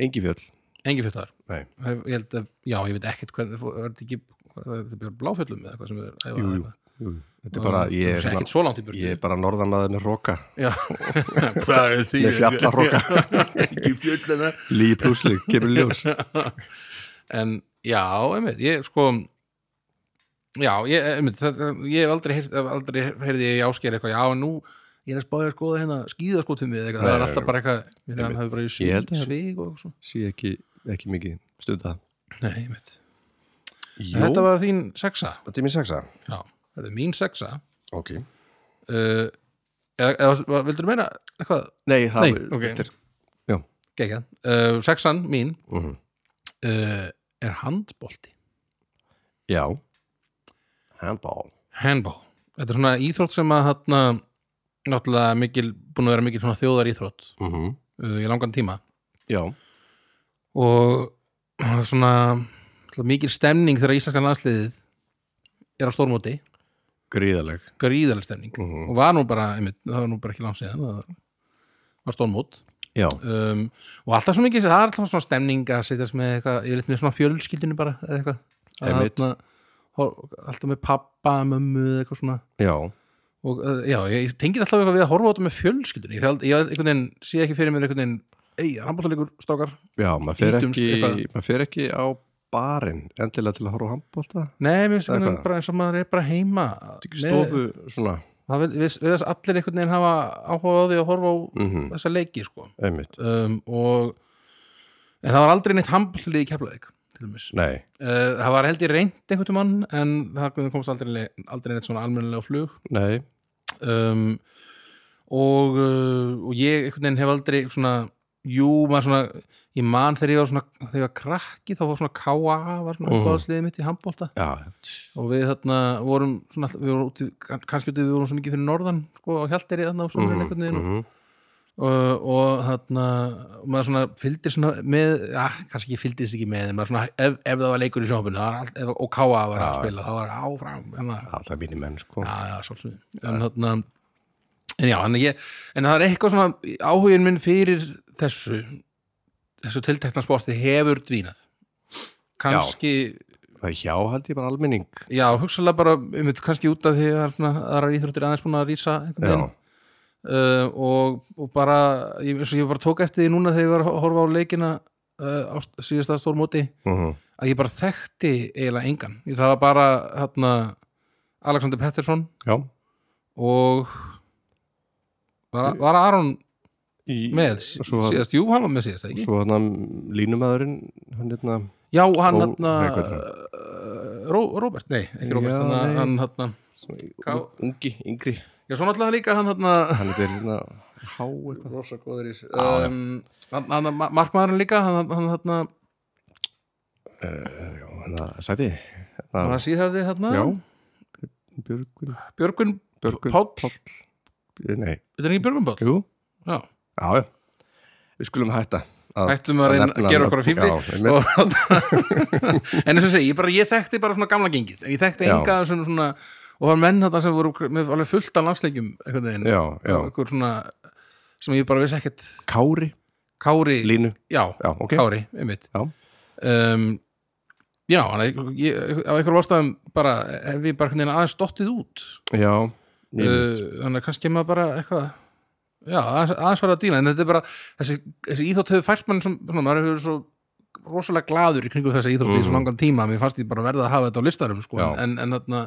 A: engi fjöll
B: engi fyrir þar
A: nei,
B: Ég held að, já, ég veit ekkert hvernig er þetta ekki, hvað er þetta björn bláfjöllum eða eitthvað sem er æfa
A: Jú, jú. jú, þetta er bara ég er, hérna-
B: Ekkert svo langt í björn
A: ég er bara norðanmaður með roka
B: Já, [LAUGHS] hvað er því?
A: Með fjallaroka.
B: [LAUGHS] Ekki fjöllina
A: líi plúsli, kemur í ljós
B: en já, einmitt, ég sko já, ég, einmitt það, ég hef aldrei, heyrt, aldrei heyrði ég ásker eitthvað, já, en nú ég er að spáði að skoða hérna skíðaskotum við
A: Nei,
B: eitthvað, það er
A: nei,
B: alltaf
A: nei.
B: bara eitthvað mér hann
A: Einmitt.
B: hafi bara í
A: Ég held
B: svig,
A: að-
B: svig og svo
A: sé ekki, ekki mikið stundað
B: nei, einmitt,
A: Jó,
B: en þetta var þín sexa
A: þetta er mér sexa
B: já, þetta er mín sexa
A: Ok
B: uh, eða, eða vildur meina eitthvað,
A: Nei, það
B: Nei, ok.
A: þetta er,
B: gegja uh, sexan mín
A: mm
B: uh, er handbolti
A: Já Handball
B: handball þetta er svona íþrótt sem að hérna náttúrulega mikil, búin að vera mikil svona þjóðar íþrótt
A: mm
B: uh, í langan tíma
A: Já,
B: og [CLEARS THROAT] það er svona ætla, mikil stemning þegar íslenska landsliðið er á stórmóti,
A: gríðaleg
B: gríðaleg stemning
A: Mhm.
B: og var nú bara, einmitt, það var nú bara ekki langt síðan það var stórmót
A: Já,
B: um, og alltaf svo mikil, það er alltaf svona stemning að setjast með eitthvað, ég er með svona fjölskyldinu bara eða eitthvað Að
A: Einmitt.
B: þarna, hor- alltaf með pappa, mömmu eða eitthvað svona
A: já
B: og uh, já, ég tengið alltaf eitthvað við að horfa á þetta með fjölskyldunni ég, held- ég einhvern veginn sé ekki fyrir mér einhvern veginn ei, handbóltaleikur, strákar
A: Já, maður fer,
B: Ítumst
A: ekki,
B: eitthvað.
A: maður fer ekki á barinn endilega til að horfa á handbólta
B: nei, mér finnst
A: Eitthvað.
B: einhvern veginn bara eins og maður er bara heima
A: Ekki stofu svona
B: það vil- við, við þess allir einhvern veginn hafa áhuga á því að horfa á
A: mm
B: þessa leiki sko.
A: Einmitt
B: um, og en það var aldrei neitt handbóltalið í keflaðik til dæmis
A: Nei,
B: Uh, það var held ég reynd einhvern mann en það komst aldrei, aldrei neitt svona almennilega á flug
A: nei
B: um, og, uh, og ég einhvern veginn hef aldrei svona, jú, maður svona ég man þegar ég var svona, þegar ég var krakki þá var svona K.A. var svona
A: Mhm.
B: uppáðsliðið mitt í handbólta
A: Já,
B: og við þarna vorum svona, alltaf- við vorum úti, kann- kannski út við vorum svo mikið fyrir norðan, sko, á Hjalteri þarna á sumrin einhvern veginn
A: -hmm.
B: og, og þarna og maður svona fylgdi svona með ja, kannski ekki fylgdi þess ekki með en maður svona, ef, ef það var leikur í sjónhópinu og káa var að spila, þá var áfram hérna,
A: alltaf minni menn sko
B: já, já, svolsum en þarna en já, en, ég, en það er eitthvað svona áhugin minn fyrir þessu þessu tiltekna sporti hefur dvínað kannski,
A: það er hjáhaldi bara almenning
B: já, hugsalega bara um kannski út af því að svona aðrar íþróttir aðeins búin að rýsa
A: já,
B: uh, og, og bara ég, eins og ég bara tók eftir því núna þegar ég var að horfa á leikina uh, á síðasta stórmóti
A: mm
B: að ég bara þekkti eiginlega engan Ég- það var bara hérna Alexander Pettersson
A: já.
B: og var, var Aron
A: Í,
B: með
A: og svo,
B: síðast, jú hann var með síðast ekki?
A: svo hann línumæðurinn hann hérna
B: já, hann
A: Ó,
B: hérna
A: nei, hvað heitir
B: uh, Ró- Robert, nei, ekki Robert
A: Já,
B: já, hann,
A: nei.
B: hann hérna Ká-
A: svona ungi, yngri
B: já, svo náttúrulega líka hann hérna
A: hann er hérna há eitthvað
B: rosa góður í þessu.
A: Já, já.
B: um, hann, hann ma- markmaðurinn líka hann, hann hérna,
A: já, hérna, sæti
B: hann
A: hérna,
B: var síðarði hérna
A: já Björgun,
B: Björgun,
A: Björgun
B: Páll.
A: nei,
B: þetta er ekki Björgun Páll
A: jú,
B: já,
A: já, já við skulum hætta að-
B: hættum að reyna að
A: nefna
B: gera
A: nöfn.
B: okkur að fífli
A: Já, einmitt.
B: og, [LAUGHS] en eins og ég segi, ég, bara, ég þekkti bara svona gamla gengið, ég þekkti
A: Já.
B: enga svona, svona og það var menn þetta sem voru með alveg fullt af landsleikjum einhvern veginn
A: já, já,
B: einhver svona sem ég bara vissi ekkert
A: Kári,
B: Kári,
A: línu
B: já,
A: já, ok,
B: Kári, einmitt
A: Já.
B: um, já hann, ég, ég, á einhverjum ástæðum bara hef ég bara einhvern veginn aðeins dottið út
A: já einmitt.
B: uh, þannig að kannski er maður bara eitthvað já, aðeins, aðeins var að dýna en þetta er bara, þessi, þessi íþótt hefur fært mann sem, svona, maður hefur verið svo rosalega gladur í kringum þessa íþrótt í
A: Mhm.
B: svo langan tíma mér fannst ég bara verða að hafa þetta á listarum sko.
A: Já.
B: en, en þarna,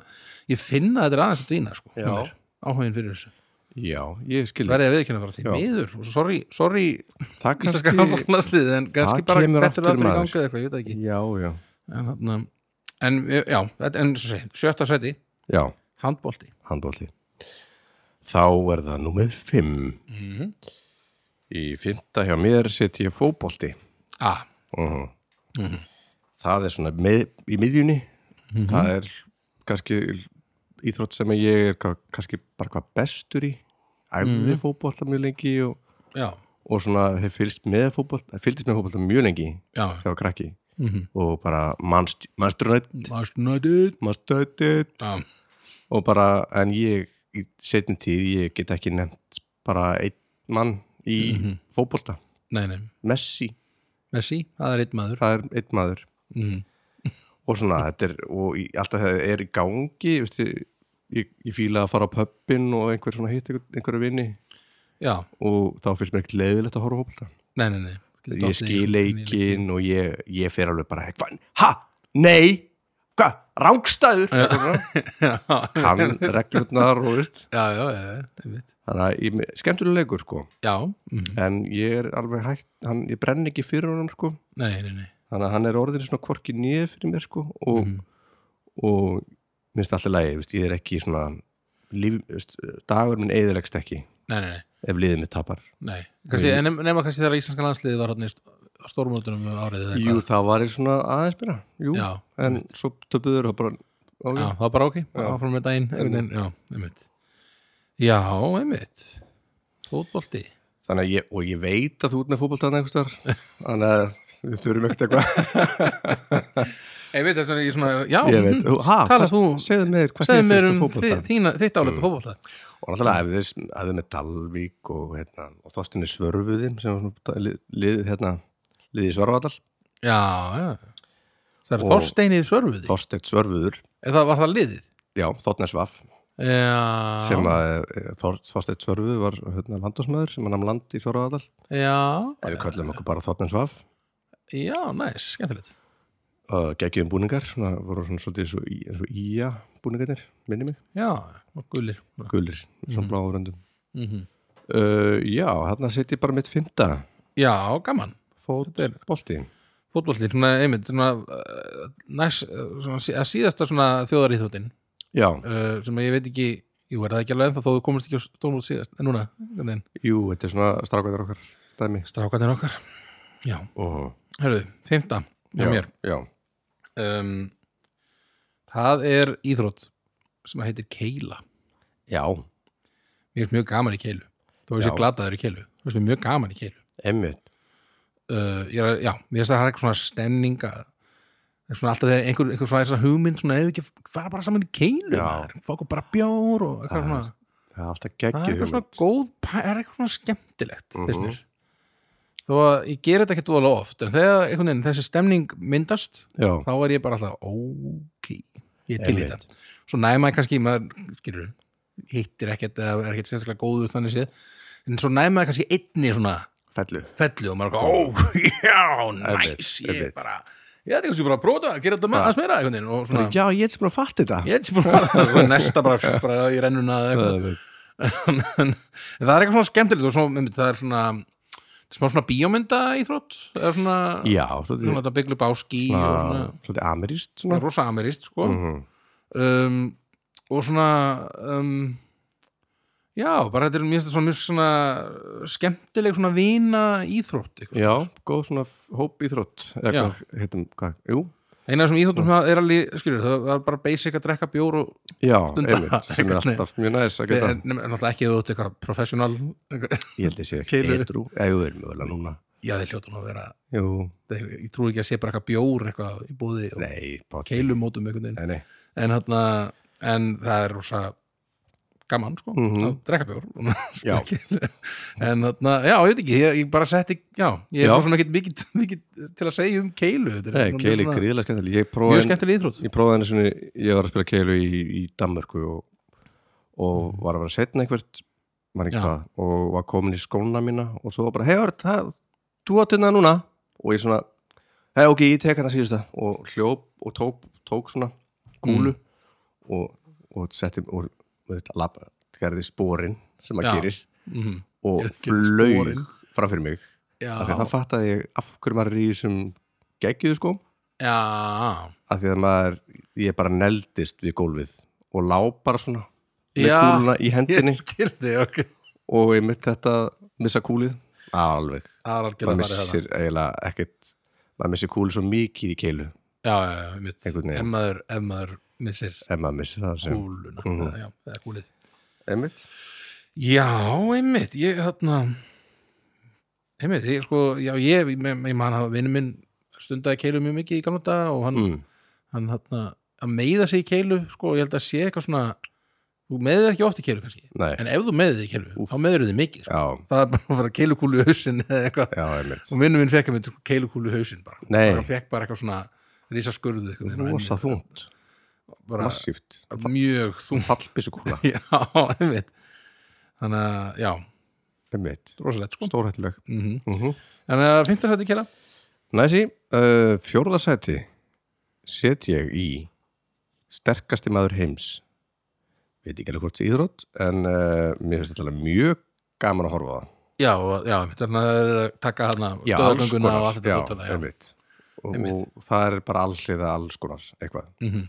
B: ég finna að þetta er aðeins að dýna sko,
A: Já.
B: hjá mér, áhugin fyrir þessu
A: já, ég skil
B: verðið að viðkynna bara því
A: Já.
B: miður, og sorry, sorry
A: það
B: íslenska handbóltnaslið en kannski
A: Það
B: bara
A: kemur
B: betur
A: aftur,
B: aftur í
A: maður.
B: ganga eða eitthvað, ég veit það ekki
A: já, já,
B: en, þarna, en já, þetta- en svo sé, sjötta seti
A: já,
B: handbólti
A: handbólti þá er það númer 5 í fymta hjá mér setjum ég fótbólti
B: ah,
A: -huh. það er svona með, í miðjunni það er kannski íþrótt sem ég er ka- kannski bara hvað bestur í æfði mm -hmm. fótbolta mjög lengi og,
B: já,
A: og svona hef fylgst með fótbolta fylgst með fótbolta mjög lengi
B: já
A: hjá krakki
B: mm -hmm.
A: og bara manst, manstrunætt
B: Mastnætið
A: manstættið
B: Já,
A: og bara en ég í setjum tíð ég get ekki nefnt bara einn mann í
B: Mhm.
A: fótbolta
B: nei, nei,
A: Messi,
B: Messi, það er einn maður
A: það er einn maður
B: mm.
A: og svona, þetta er, og í, alltaf það er í gangi, veistu, ég, ég fíla að fara á pöppin og einhver svona hitt einhver, einhverju vini
B: Já,
A: og þá finnst mér ekkert leiðilegt að horfa á fólkta.
B: nei, nei, nei Dottið í
A: Ég skil
B: svona minni leiki.
A: leikinn og ég, ég fer alveg bara, hva, ha, nei, hva, rángstæður,
B: [LAUGHS] Já,
A: kann reglurnar og veist,
B: já, já, já, já, einmitt.
A: þannig að ég, skemmtulega leikur sko,
B: já mhm.
A: en ég er alveg hægt, hann, ég brenn ekki fyrir honum sko,
B: Nei, nei, nei
A: þannig að hann er orðin svona kvorki nýð fyrir mér sko og,
B: Mhm.
A: og minnst alltaf lægi, veist, ég er ekki svona líf, veist, dagur minn eðilegst ekki
B: Nei, nei, nei,
A: ef liðið mitt tapar
B: nei. Kansi, en nema, nema kannski þegar íslenska landsliðið var hann í st- stórmótunum um árið eða
A: Jú,
B: eitthvað.
A: það var ég svona aðeins meira Jú,
B: Já,
A: en svo töpuður og bara ok,
B: Já,
A: já.
B: það var bara ok, áfram með daginn einhvern veginn, Já, einmitt Já, einmitt Fótbolti
A: þannig að ég, og ég veit að þú ert með fótboltaðan einhverstaðar
B: [LAUGHS]
A: þannig að við þurfum ekkert eitthvað
B: Einmitt, þess að ég svona, já
A: ég veit,
B: mhm.
A: ha,
B: Tala
A: hvað-
B: þú-
A: segðu mér hvað
B: Segðu
A: þið
B: mér
A: fyrst um
B: um þi-
A: fótboltaðan
B: þína- þitt álega mm. fótbolta
A: og náttúrulega ef þið, ef þið með Dalvík og, hérna, og Þorstinni Svörfuðin sem var svona lið- liðið hérna, liðið Svörfadal
B: Já, já Það er
A: Og-
B: Þorsteinið Svörfuði
A: Þorsteinn Svörfuður,
B: Eða var það liðið?
A: já, Þornes Vaff
B: Já,
A: sem að eh, Þor- Þorsteinn Svörfu var hérna, landásmaður sem hann am land í Þorraðal ef
B: já,
A: við köllum okkur bara Þorsteinn Svaf
B: já, næs, skemmtilegt
A: uh, geggjum búningar, svona, voru svona svolítið eins og, í- eins og íja búningarnir minni mig,
B: Já, og gulir
A: gulir
B: Mhm.
A: svona mm. bláður öndum
B: mm
A: uh, já, hérna setjum ég bara mitt fymta
B: Já, gaman
A: fótbolti
B: Fótbolti, svona einmitt svona, uh, næs, uh, svona, sí- að síðasta svona þjóðaríþóttin
A: já,
B: uh, sem ég veit ekki, jú, er það ekki alveg ennþá þó þú komist ekki á stórmót síðast, en núna en,
A: jú, þetta er svona strákvæðar okkar dæmi
B: strákarnir okkar Já,
A: uh,
B: hörðu, fimmta hjá mér
A: já,
B: um, Það er íþrótt sem að heitir Keila
A: já,
B: Mér er mjög gaman í Keilu Þó ég sé
A: Já.
B: glataður í Keilu þú veist, mér er mjög gaman í keilu
A: Einmitt.
B: uh, ég er, að- já, mér finnst að það er eitthvað svona stemning að það er svona alltaf þegar einhver, einhver svona þessa hugmynd svona ef við ekki fara bara saman í keilu
A: Já.
B: maður, fá okkur bara bjór og eitthvað
A: Það
B: svona
A: Það er alltaf
B: það er
A: geggjum
B: eitthvað svona góð, pæ- það er eitthvað svona skemmtilegt finnst
A: Mhm.
B: mér þó að ég ger þetta ekki dvoðlega oft en þegar einhvern veginn þessi stemning myndast
A: Já,
B: þá er ég bara alltaf, ok ég er til í
A: Einmitt.
B: þetta svo næma ég kannski, maður, skilur hittir ekkert eða er ekkert sérstaklega góður þannig séð en svo næma ég kannski einni svona
A: fellu
B: fellu og maður er eitthvað, ó, [LAUGHS] já,
A: Einmitt,
B: næs, ég
A: einmitt.
B: er bara ég er kannski bara að prófa, að gera þetta með- aðeins meira einhvern veginn og svona,
A: Já, ég er sem bara að fatta þetta
B: ég er ekki búin að [LAUGHS] svo næsta
A: [LAUGHS]
B: bara, bara í rennuna eða eitthvað
A: Einmitt.
B: en [LAUGHS] en það er eitthvað svona skemmtilegt og svona, einmitt, það er svona smá svona bíómynda íþrótt það er svona,
A: Já,
B: svona
A: svolítið
B: þetta bygglu báski og svona,
A: svona- Svolítið ameríst
B: það
A: svona
B: er rosa ameríst sko
A: Mhm.
B: um, og svona um, já, bara þetta er mér finnst þetta svona mjög svona skemmtileg svona vina íþrótt eitthvað.
A: Já, góð svona hóp í þrótt Eða
B: Já.
A: hvað, heitum, hvað, jú
B: eina af þessum íþróttum það er alveg, skilur, það það er bara basic að drekka bjór og
A: Já,
B: Stunda, [LAUGHS]
A: einmitt, sem er
B: einhvern veginn.
A: alltaf mjög næs að
B: en,
A: geta
B: en náttúrulega ekki ef þú ert eitthvað professional [LAUGHS] eitthvað.
A: Ég held ég sé ekki
B: Keilu.
A: eitrú Já, jú, er mjögulega núna
B: já, þeir hljóta nú að vera
A: Jú,
B: þeir, ég trúi ekki að sé bara eitthvað bjór eitthvað í búði og
A: nei, bara
B: keilumótum einhvern veginn
A: Nei, nei,
B: en, þarna, en það er rosa gaman, sko,
A: Mhm.
B: að drekka bjór [LAUGHS]
A: Já.
B: en þarna, já, ég veit ekki ég, ég bara setti, já, ég
A: Já.
B: er svona ekkit mikið, mikið til að segja um keilu þetta er
A: nei
B: svona
A: keili
B: svona-
A: gríðlega skemmtileg Ég
B: mjög
A: prófaði
B: skemmtileg íþrótt
A: ég prófaði henni svona, ég var að spila keilu í, í Danmörku og, og var að vera setna einhvert man ekki
B: Mhm. Já.
A: hvað, og var komin í skóna mína og svo var bara, hei Ört, það- þú átt hérna núna og ég svona, hei ok, ég tek hérna síðust það og hljóp og tók, tók svona gúlu
B: Mhm.
A: og, og setti og þú veist, lab, gerði spórin sem
B: Já.
A: maður gerir
B: mm.
A: og
B: Gerði
A: flög
B: sporin.
A: fram fyrir mig
B: já,
A: af því að það fattaði ég af hverju maður er í þessum geggiðu sko
B: já,
A: af því að maður, ég bara neldist við gólfið og lá bara svona með
B: Já.
A: kúluna í hendinni
B: ég skildi, ok
A: og ég mitt þetta missa kúlið alveg,
B: það er algjörlega
A: maður
B: farið þetta
A: missir eiginlega ekkert, maður missir kúlið svo mikið í keilu
B: já, já, já, mitt,
A: Einhvern veginn.
B: ef maður, ef maður missir
A: ef maður missir það sem
B: kúluna
A: Mhm.
B: eða, já, eða kúlið
A: einmitt,
B: já, einmitt, ég þarna einmitt, ég sko já, ég, ég, ég man að vinnu minn stundaði keilu mjög mikið í gamla daga og hann,
A: mm.
B: hann þarna, að meiða sig í keilu sko, ég held að sé eitthvað svona þú meiðir ekki oft í keilu kannski
A: nei,
B: en ef þú meiðir þig í keilu,
A: Úff.
B: þá meiður þig mikið sko.
A: já,
B: það er bara að fara keilukúlu í hausinn eða eitthvað
A: já, einmitt
B: og vinnum minn fekk að mynd keilukúlu í hausinn bara,
A: Nei.
B: bara fekk bara eitthvað svona rísaskurðu einhvern veginn á
A: rosa
B: enninu.
A: þungt,
B: bara
A: massíft
B: mjög þung
A: fallbissu kúla,
B: [LAUGHS] já, einmitt þannig að, já,
A: einmitt
B: rosalegt sko
A: stórhættuleg
B: mm
A: mm
B: þannig að fimmta sæti kæla
A: næsi, uh, fjórðasæti set ég í sterkasti maður heims veit ekki alveg hvort sé íþrótt en uh, mér finnst þetta alveg mjög gaman að horfa á það
B: já, og- já, einmitt, þannig að það er að taka hana
A: alls
B: döðagönguna og
A: já,
B: allt þetta dótana, já,
A: einmitt. Og,
B: Einmitt.
A: og það er bara allhliða alls konar eitthvað
B: Mhm,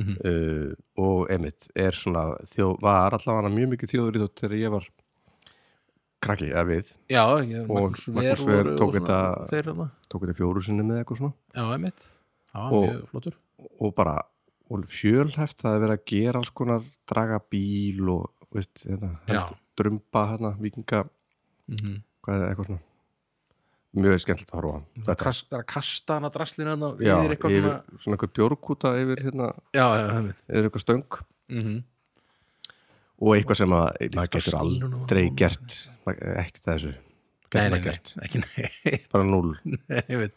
B: mhm.
A: uh, og einmitt er svona þjó, var allavega mjög mikið þjóður íþrótt þegar ég var krakki eða við,
B: já ég er
A: Og
B: Magnús Ver
A: Magnús Ver
B: og-
A: tók
B: og svona
A: þetta-
B: þeir hana,
A: tók þetta fjóru sinni með eitthvað svona
B: já, einmitt já,
A: Og-
B: mjög flottur
A: og bara og fjölhæft það er verið að gera alls konar draga bíl og veist, hérna,
B: Já.
A: hend, drumba hérna, vikinga,
B: Mhm.
A: hvað er það, eitthvað svona mjög skemmtilegt að horfa á
B: Það
A: þetta.
B: kast- það er að kasta hana draslinu hana
A: Já,
B: yfir eitthvað
A: yfir,
B: svona
A: svona eitthvað bjórkúta yfir, hérna,
B: já, já, einmitt
A: yfir eitthvað stöng
B: Mhm.
A: og eitthvað sem að
B: Lyfta
A: maður getur
B: stílnum og-
A: aldrei gert maður- ekkert að þessu
B: nei,
A: getur
B: nei,
A: maður
B: nei,
A: gert,
B: ekki [LAUGHS] neitt
A: bara
B: [LAUGHS]
A: núl
B: ég veit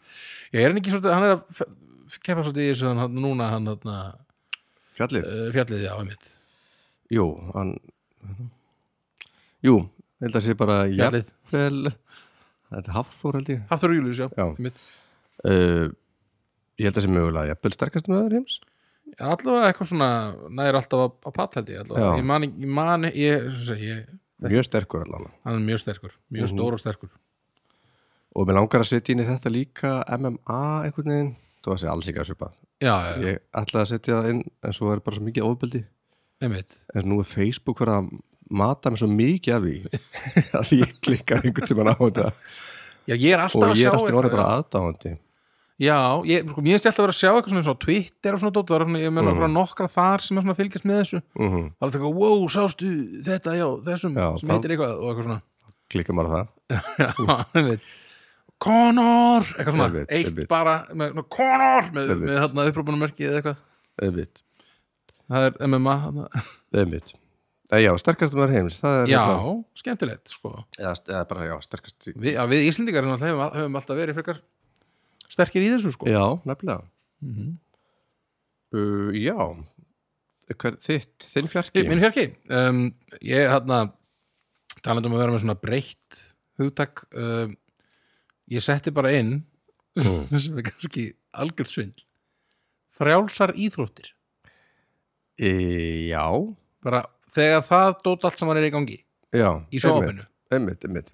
B: ég er hann ekki svolítið, hann er að f- keppa svolítið í þessu hann- núna hann þarna
A: fjallið,
B: uh, fjallið, já, einmitt
A: jú hann, hérna. jú, ég held að sé bara
B: fjallið,
A: jafnvel þetta er Hafþór held ég
B: Hafþór Július, já,
A: Já.
B: einmitt Eh,
A: uh, ég held að sé mögulega jafnvel sterkast með öður heims
B: allavega eitthvað svona, næri alltaf á, á pall held ég allavega,
A: Já.
B: ég man, ég man ég, sem segi, ég,
A: mjög sterkur allavega
B: hann er mjög sterkur
A: Mhm.
B: mjög stór og sterkur
A: og mér langar að setja inn í þetta líka MMA einhvern veginn þú veist ég alls ekki að svipa
B: já, já, já,
A: ég ætlaði að setja það inn en svo er bara svo mikið ofbeldi
B: einmitt
A: en nú er Facebook verið að mata mig svo mikið af
B: [LAUGHS]
A: því að ég klikkar einhvern tímann á þetta
B: já, ég er alltaf
A: og
B: að
A: ég er
B: sjá
A: alltaf orðið
B: eitthvað,
A: bara aðdáðandi
B: já, ég, sko, mér er alltaf að vera að sjá eitthvað svona eins og á Twitter og svona dót, það er svona, ég meina
A: Mhm.
B: mm. nokkra þar sem er svona að fylgjast með þessu
A: mm -hmm.
B: það er alltaf eitthvað, wow, sástu þetta, já, þessum
A: Já,
B: sem
A: það-
B: heitir eitthvað og eitthvað svona
A: klikkar maður á það
B: [LAUGHS] einmitt. Connor, eitthvað svona
A: Einmitt,
B: eitt
A: einmitt.
B: bara, með, svona, Connor með,
A: Einmitt.
B: með þarna upprópunumörki eða eitthvað
A: einmitt,
B: það er MMA þarna.
A: einmitt Eh, Já, sterkast maður heims það er
B: já,
A: hérna-
B: skemmtilegt sko.
A: eða, eða bara, já, sterkast
B: Vi, já, við Íslendingar hérna, alltaf höfum, höfum alltaf verið frekar sterkir í þessu sko.
A: Já, nefnilega
B: Mhm.
A: uh, Já Hver, Þitt, þinn fjarki
B: Ég- minn fjarki um, ég hérna talandi um að vera með svona breytt hugtak um, ég setti bara inn
A: Mm.
B: [LAUGHS] sem er kannski algjörð svindl frjálsar íþróttir
A: e, Já,
B: bara þegar það dót allt saman er í gangi
A: já
B: í sjófinu
A: Einmitt, einmitt,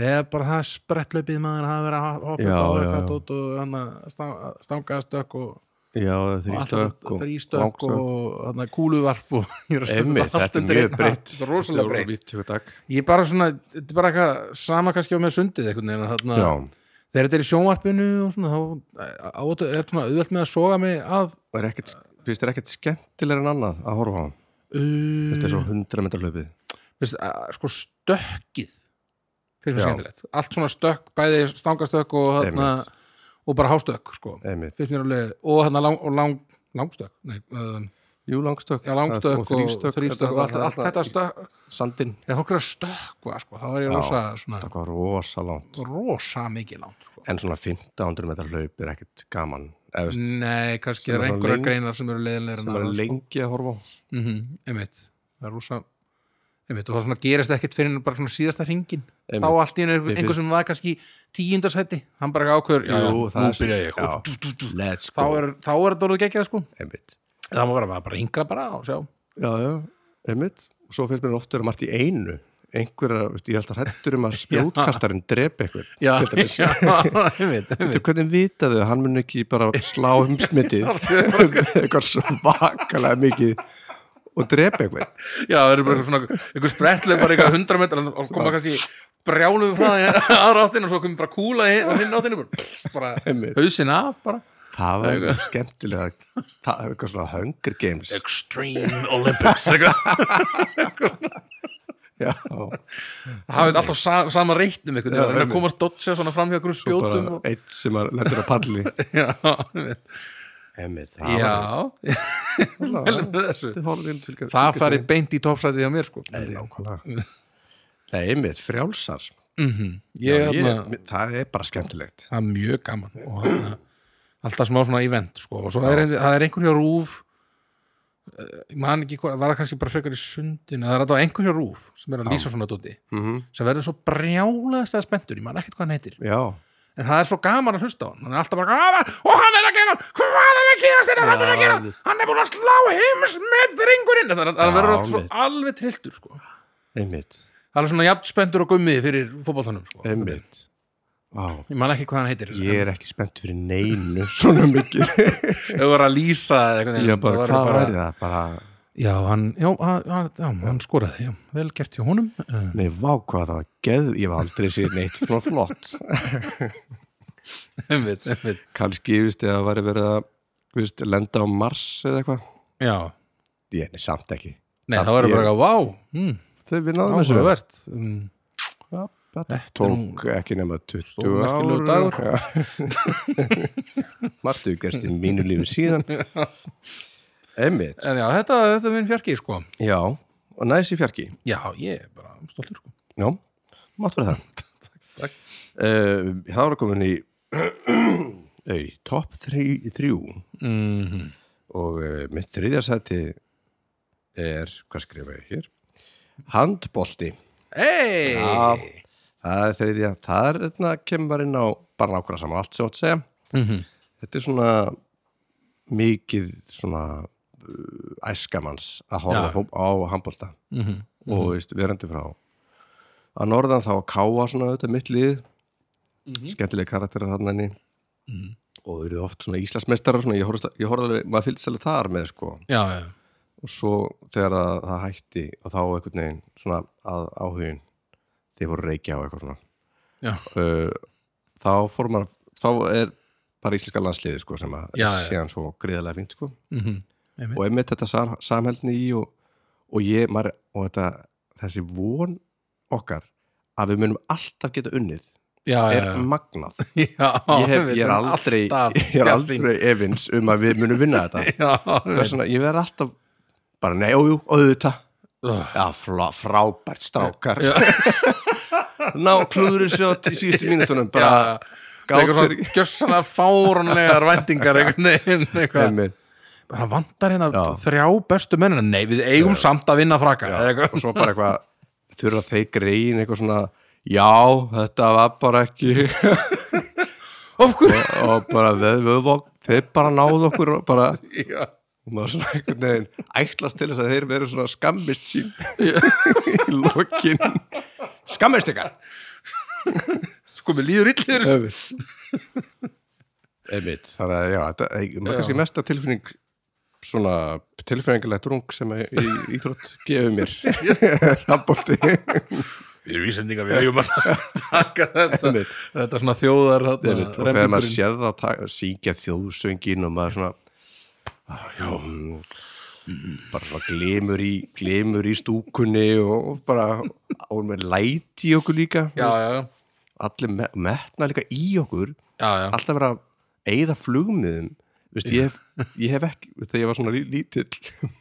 B: þegar bara það sprettlaupið maður hafa verið að hoppa
A: Já,
B: upp á
A: já,
B: eitthvað
A: já.
B: dót og hérna, hann að stangastökk og
A: einmitt. Já, þrýstök
B: þrýstök og hann að kúluvarp og [LAUGHS] ég er að setja
A: Einmitt,
B: allt
A: þetta er
B: undir
A: mjög
B: einn
A: breitt.
B: hatt. þetta er rosalega breytt
A: breytt
B: ég er bara svona, þetta er bara eitthvað sama kannski á með sundið einhvern veginn að þarna,
A: Já,
B: þegar þetta er í sjónvarpinu og svona þá á, á, er svona auðvelt með að soga mig að
A: og er ekkert, finnst þér ekkert skemmtilega en annað að horfa á hann Þetta er svo
B: uh,
A: 100 metra hlaupið
B: veist, að, sko stökkið fyrir mér
A: Já.
B: skemmtilegt, allt svona stökk bæði stangastökk og þarna og bara hástökk sko,
A: Einmitt,
B: finnst mér alveg og þarna lang, og lang, langstökk nei, um,
A: jú, langstök
B: já, langstökk og
A: þrýstök
B: þrýstök og allt, allt þetta stökk
A: Sandinn,
B: þegar fólk er að stökkva sko, þá er ég
A: Já.
B: rosa, svona,
A: það var rosa langt
B: rosa mikið langt sko.
A: En svona 1500 metra hlaup er ekkert gaman Eða veist,
B: Nei, kannski
A: sem er
B: er
A: svona
B: einhverja
A: leng-
B: greinar sem eru leiðinlegar en
A: sem er
B: aðrar, sko.
A: lengi að horfa á
B: Mhm, einmitt, það er rúsa einmitt, og það svona gerist ekkert fyrir en bara svona síðasta hringin þá
A: Einmitt.
B: allt í einu einhver,
A: Mér
B: einhver
A: finnst-
B: sem var kannski tíundarsæti hann bara ákveður, já,
A: Jú,
B: já,
A: það
B: nú
A: er-
B: byrja ég sko.
A: já.
B: dú, dú, dú.
A: Let's
B: þá er þá er þetta orðið geggjað sko
A: Einmitt
B: það má bara, bara hingra bara og sjá
A: Já, já, einmitt og svo finnst mér oft vera margt í einu einhverja, veist, ég er alltaf hrættur
B: [LAUGHS]
A: um að spjótkastarinn drepa eitthvað
B: já, [LAUGHS] já, einmitt, einmitt
A: Veitu, hvernig vita þau að hann mun ekki bara slá um
B: [LAUGHS]
A: smitið [LAUGHS] eitthvað svakalega mikið og drepa eitthvað
B: já, það eru bara eitthvað svona, einhver sprettlega bara eitthvað hundra metrar og koma kannski brjáluðu frá það í [LAUGHS] aðra áttin og svo komum bara kúla í- á hinn áttinu bara, bara
A: Einmitt.
B: hausin af bara
A: það var eitthvað skemmtilega það er eitthvað svona Hunger Games
B: Extreme Olympics [LAUGHS] eitthvað. [LAUGHS]
A: já,
B: það hefði alltaf sa sama reitnum einhvern veginn,
A: Já,
B: að reyna að
A: einmitt.
B: komast dotja svona fram hjá einhverjum spjótum
A: bara
B: og...
A: eitt sem að lendur á palli
B: [LAUGHS] já, einmitt.
A: einmitt,
B: já,
A: var
B: vel með þessu
A: eitthvað
B: það fari beint í toppsætið hjá mér sko
A: nákvæmlega [LAUGHS] Nei, einmitt, frjálsar
B: ég, hérna-
A: ég,
B: þarna,
A: það er bara skemmtilegt
B: það er mjög gaman og þarna, alltaf smá svona event sko. og svo er, ein- það er einhver hjá rúf eh, ég man ekki hvað, var það kannski bara frekar í sundinu, það er alltaf einhver hjá rúf sem er að lýsa svona dóti
A: mm
B: sem verður svo brjálaðast eða spenntur, ég man ekkert hvað hann heitir
A: Já,
B: en það er svo gaman að hlusta á hann hann er alltaf bara, "Ah, og hann er að gera hvað er að gera, þetta hann er að
A: Já,
B: gera
A: einmitt.
B: hann er búin að slá heims með ringurinn þannig að hann
A: Já,
B: verður alltaf svo
A: einmitt.
B: alveg trilltur sko.
A: einmitt,
B: hann er svona jafn spendur og gummið fyrir fótboltanum sko. ég
A: einmitt Vá,
B: man ekki hvað hann heitir
A: ég er ekki spennt fyrir neinu [LAUGHS] svona mikið
B: [LAUGHS] ef það var að lýsa eða einhvern veginn,
A: Já, bara,
B: það
A: hvað
B: væri bara-
A: væri það? Bara,
B: já, hann, já, hann, hann, já, hann skoraði já. vel gert hjá honum uh,
A: nei, vá, hvað það var geð, ég var aldrei sér neitt svona flott.
B: [LAUGHS] [LAUGHS] einmitt, einmitt.
A: Kanski, ég veist, ef það væri verið að, þú veist, lenda á Mars eða eitthvað.
B: já,
A: Ég, nei, samt ekki.
B: nei,
A: Já,
B: það var
A: ég-
B: bara eitthvað, vá hm,
A: Þau við náðum þessu.
B: áhugavert um,
A: Já, þetta
B: er
A: tók ekki nema 20
B: Stórmerkilegur
A: ára.
B: dagur.
A: [LAUGHS] Martu gerst í mínu lífi síðan. Einmitt.
B: en já, þetta, þetta er minn fjarki sko.
A: Já, og næs í fjarki.
B: já, ég er bara stoltur sko.
A: Já, mátt verið það.
B: [LAUGHS] takk.
A: Eh, það var komin í, [CLEARS THROAT] ei, topp þrí- þrjú.
B: mm -hmm.
A: og uh, mitt þriðja sæti er, hvað skrifa ég hér handbolti
B: Hey!
A: Já. það er þriðja, það er þetta kemur bara inn á bara nákvæmlega saman allt sem átt að segja
B: Mm -hmm.
A: þetta er svona mikið svona uh, æskamanns að horfa
B: Já.
A: fó- á handbolta og veist, verandi frá að norðan þá að káa svona auðvitað mitt lið
B: Mhm.
A: skemmtilega karakterar hann henni og eru oft svona íslasmestarar svona, ég horfði, ég horfði alveg, maður fylgst alveg þar með sko
B: já, já,
A: og svo þegar að, það hætti og þá einhvern veginn svona að áhugin þeir voru reykja á eitthvað svona
B: já,
A: uh, þá fór maður þá er bara íslenska landsliði sko sem að
B: Já,
A: er
B: já.
A: síðan svo gríðarlega fínt sko
B: mm -hmm.
A: og einmitt þetta sam, samheldni í og, og ég maður, og þetta þessi von okkar að við munum alltaf geta unnið
B: já, já,
A: er magnað
B: [LAUGHS] já,
A: ég, hef,
B: við
A: ég er
B: erum
A: aldrei,
B: alltaf
A: [LAUGHS] ég er
B: bjartsýn.
A: aldrei efins um að við munum vinna
B: [LAUGHS]
A: þetta
B: já,
A: þess vegna, ég verð alltaf bara, nei, ójú, auðvitað
B: Ugh.
A: já, flá, frábært strákar
B: Já.
A: [LAUGHS] ná, klúður þessu á t- síðustu mínutunum
B: já,
A: bara
B: eitthvað
A: gátur
B: svona gjössanlega fárónlegar vendingar einhvern veginn eitthvað.
A: Einmitt.
B: það vantar hérna
A: Já.
B: þrjá bestu mennina nei við eigum samt að vinna frakka eða
A: og
B: eitthvað. [LAUGHS]
A: svo bara eitthvað þurfa þeir greiðin eitthvað svona já, þetta var bara
B: [LAUGHS]
A: ekki
B: af hverju
A: og bara við, við, við, þeir bara náðu okkur og bara
B: Já.
A: og maður svona einhvern veginn ætlast til þess að þeir veru svona skammist sín [LAUGHS] í lokin skammist ykkar
B: sko mér líður illir
A: einmitt þannig að já, þetta er
B: Já.
A: kannski mesta tilfinning svona tilfinningilegt rung sem að í íþrótt gefur
B: [LAUGHS]
A: mér [LAUGHS] rafbólti
B: við erum ísendingar við eigum að [LAUGHS] taka þetta
A: Einmitt.
B: þetta er svona þjóðar þarna,
A: og þegar maður
B: rembingurinn.
A: séð það ta- syngja þjóðsöngin og maður svona ah, já mm, bara svona glimur í glimur í stúkunni og bara og með læti í okkur líka
B: já já já
A: allir me metna líka í okkur
B: já, já.
A: alltaf vera að eyða flugmiðum Vist, ég, hef, ég hef ekki, veist, þegar ég var svona lí- lítill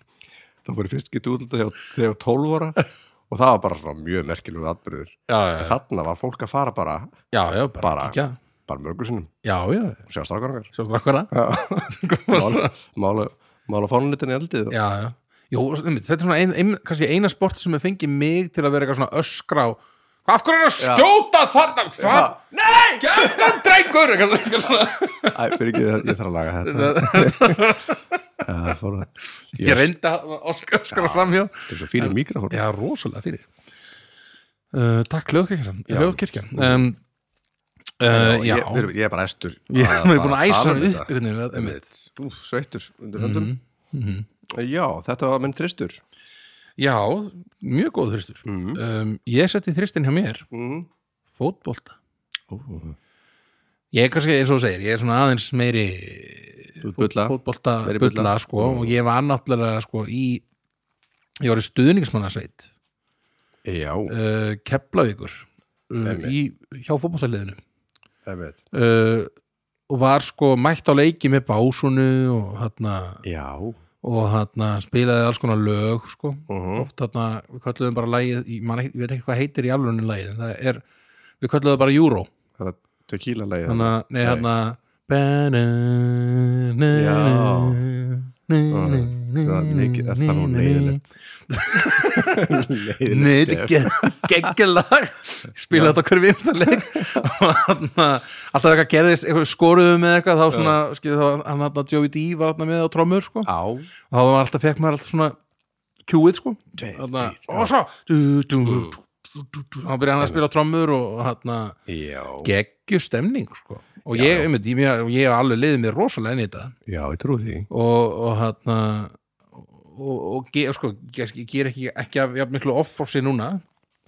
A: [LAUGHS] þá fór ég fyrst getið út þegar þegar ég var 12 ára og það var bara svona mjög merkilegu atbyrður
B: Já, já, já.
A: þarna var fólk að fara bara
B: já, já, bara,
A: Bara.
B: kíkja.
A: bara mörgur sinnum
B: já, já,
A: og sjá strákarungar
B: [LAUGHS] sjá strakkuna
A: mála, mála, mála fánulitin í eldið og-
B: já, já Jó, einmitt, þetta er svona ein, ein, kannski eina sport sem hefur fengið mig til að vera eitthvað svona öskra og af hverju er að
A: Já.
B: skjóta þarna hvað? Nei! Gjöftan drengur! Eitthvað svona- eitthvað svona.
A: Æ, fyrir ekki, ég þarf að laga þetta [LAUGHS] Já, fór að-
B: Ég reyndi að öskra, öskra framhjá
A: Þetta er svo fyrir mikrofón
B: Já, rosalega fyrir uh, Takk lögkirkjan
A: Já.
B: Lögkirkjan um, uh, Já,
A: ég, við erum- ég er bara æstur
B: [LAUGHS] ég
A: að-
B: er búin að
A: tala
B: æsa
A: um
B: hann
A: þetta.
B: upp einhvern veginn, einmitt. Mhm,
A: Ú, sveittur undir höndum Já, þetta var minn þristur
B: Já, mjög góð þristur
A: Mhm.
B: um, Ég setti þristin hjá mér
A: mm.
B: Fótbolta
A: Ó,
B: Ég er kannski eins og þú segir, ég er svona aðeins meiri
A: ert bulla.
B: fótbolta
A: Meiri
B: bulla,
A: bulla. Mm.
B: sko, og ég var náttúrulega sko í, ég var í stuðningsmannasveit
A: Já,
B: uh, Keflavíkur uh,
A: Einmitt.
B: í, hjá fótboltaliðinu
A: einmitt
B: uh, og var sko mætt á leiki með básunu og hérna
A: Já,
B: og hérna spilaði alls konar lög sko,
A: Mhm.
B: oft hérna við kölluðum bara lagið, ég, man, ekki- ég veit ekki hvað heitir í alvörunni lagið, en það er við kölluðum það bara Euro
A: það er tequila lægi
B: Hanna, nei,
A: Nei.
B: hérna Já
A: Það er mikið, er það nú leiðilegt [LAUGHS]
B: Nei, þetta
A: stef.
B: er [LAUGHS] geggjalag Spila þetta á hverju vinsta [LAUGHS] leik Og þarna, Alltaf eitthvað gerðist eitthvað skoruðu með eitthvað þá svona, skilur þá, hann þarna Joey D var þarna með á trommur sko
A: Á
B: og þá var alltaf, fekk maður alltaf svona kjúið sko
A: Tveir,
B: Þarna,
A: tveir,
B: og svo dú, dú, dú, dú, dú, dú. þá byrjaði hann að spila á trommur og hann
A: Já,
B: geggju stemning sko og ég, einmitt, ég, ég, ég hef alveg liðið mér rosalega inn í þetta
A: já, ég trú því
B: og, og hann og, og ge, sko, ég, ég ger ekki, ekki af, jafn miklu offorsi núna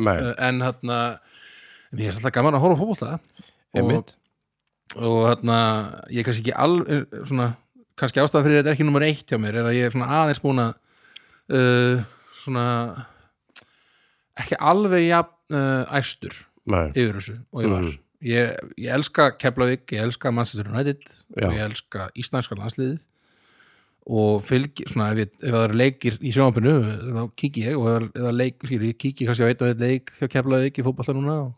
A: Nei,
B: uh, en hann mér er alltaf gaman að horfa fótbolta og,
A: einmitt
B: og hann ég er kannski ekki alveg svona, kannski ástæða fyrir þetta er ekki nummer eitt hjá mér er að ég er svona aðeins búin að uh, svona ekki alveg jafn uh, æstur
A: Nei,
B: yfir þessu og ég var
A: Mhm.
B: ég, ég elska Keflavík, ég elska Manchester United
A: Já.
B: og ég elska Íslandska landsliðið og fylg, svona ef, ég, ef það eru leikir í sjónvampinu þá kíki ég og ef það eru leik, skýr, ég kíki kannski á eitt og eitt leik hjá Keflavík í fótballa núna og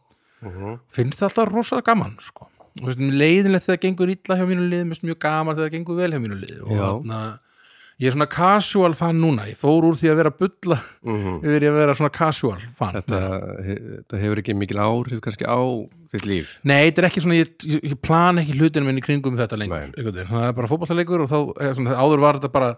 A: Mhm.
B: finnst það alltaf rosa gaman sko. og veist, leiðinlegt þegar það gengur illa hjá mínu lið, mér finnst mjög gaman þegar það gengur vel hjá mínu lið og
A: Já.
B: þarna ég er svona casual fan núna, ég fór úr því að vera bulla
A: Mhm.
B: yfir í að vera svona casual fan
A: Þetta, þetta hefur ekki mikil áhrif kannski á þitt líf
B: Nei, þetta er ekki svona, ég, ég, ég plan ekki hlutinu minn í kringum þetta lengur,
A: Nei.
B: einhvern veginn. það er bara fótballtaleikur og þá, eh, svona, áður var þetta bara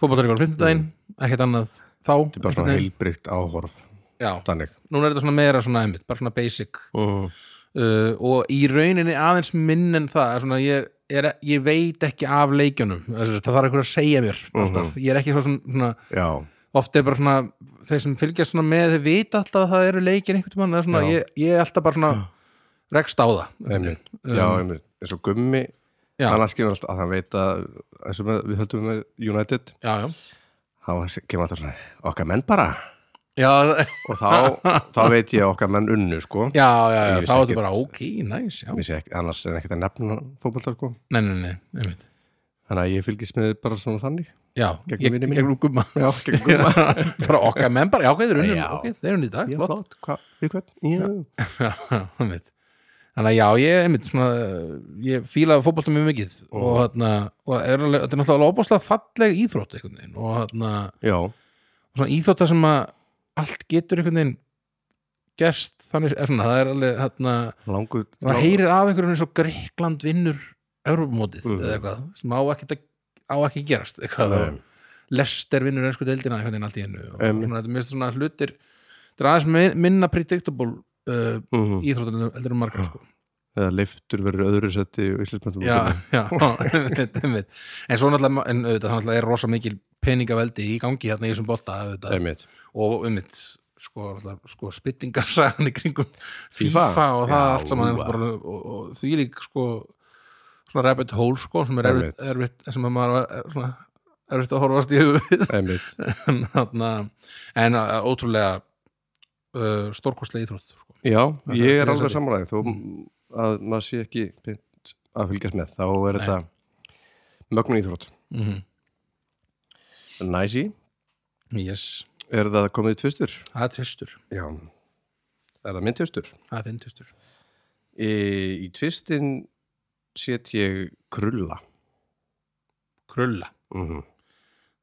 B: fótballtaleikur á fimmtudaginn, ekkert annað þá. Þetta
A: Mm. Þetta er bara svona heilbrygt áhorf
B: Já,
A: Þannig
B: núna er þetta svona meira svona einmitt, bara svona basic
A: uh,
B: uh, og í rauninni aðeins minn en það, er svona, ég, er, ég veit ekki af leikjunum, Þess- það þarf einhver að segja mér alltaf,
A: Mhm.
B: ég er ekki svo svona, svona
A: Já,
B: oft er bara svona, þeir sem fylgjast svona með þeir vita alltaf að það eru leikir einhvern tímann, það er svona,
A: Já.
B: ég, ég er alltaf bara svona rekst á það.
A: einmitt Já, einmitt Eins og gummi
B: Um, Já.
A: Hann skilur alltaf að hann veit að eins og með, við höldum með United
B: já, já.
A: Hann kemur alltaf svona Okkar menn bara
B: já,
A: og þá,
B: [LAUGHS]
A: þá veit ég að okkar menn unnu sko
B: já, já, já
A: Ég vissi
B: þá er þetta
A: ekkert.
B: bara ok, næs já.
A: Ég
B: Nei,
A: vissi ekki, annars er ekkert að nefna fótbolta sko
B: nei, nei, einmitt
A: þannig að ég fylgist með bara svona þannig
B: Já,
A: Gegnum
B: ég-
A: vini mína.
B: gegnum gumma [LAUGHS]
A: já, [LAUGHS] gegn gumma
B: bara okkar menn bara, já, ok, þeir unnum
A: Já.
B: ok, þeir unnum í dag,
A: já,
B: flott
A: flott, hvað, við hvern já,
B: Já, [LAUGHS] einmitt. Þannig að já, ég, einmitt, svona, ég fílaði fótbolta mjög mikið og, þarna, og er, alveg- þetta er náttúrulega alveg óbáslega falleg íþrótt einhvern veginn og þarna,
A: já,
B: svona íþrótta sem að allt getur einhvern veginn gerst þannig, er svona, það er alveg hérna, þarna,
A: langur
B: maður heyrir af einhverjum eins og Greikland vinnur Europamótið
A: Mm.
B: eða eitthvað, sem á ekki á ekki að gerast,
A: Nei.
B: eitthvað og Lester vinnur einsku deildina einhvern veginn allt í hennu og
A: Einmitt.
B: svona, þetta mest svona hlutir þetta er aðeins min- minna predictable uh,
A: Mhm.
B: íþróttan heldur um margar sko
A: eða leiftur verður öðru setti í Íslandsmyndum
B: já, já, einmitt, einmitt. en svo náttúrulega, en auðvitað, það náttúrulega er rosa mikil peningaveldi í gangi hérna í þessum bolta auðvitað,
A: einmitt
B: og einmitt sko, náttúrulega, sko [LAUGHS] spillingarsagan í kringum
A: FIFA?
B: FIFA og það
A: Já,
B: allt saman er
A: úa.
B: bara, og, og því lík sko svona rabbit hole sko sem er erfitt, erfitt sem að maður er svona erfitt að horfast í höfuð
A: einmitt,
B: [LAUGHS] en, þarna, en að- ótrúlega uh, stórkostlega íþrótt sko.
A: já,
B: Það er
A: ég er
B: þriðja
A: alveg
B: sæti.
A: samræði þó
B: Mm.
A: að maður sé ekki beint að fylgjast með, þá er
B: Nei.
A: þetta mögnun íþrótt
B: mm
A: næsi,
B: yes,
A: er það komið tvistur?
B: það er tvistur
A: já, er það minn tvistur?
B: það er þinn tvistur
A: í, í tvistin set ég krulla
B: krulla
A: mm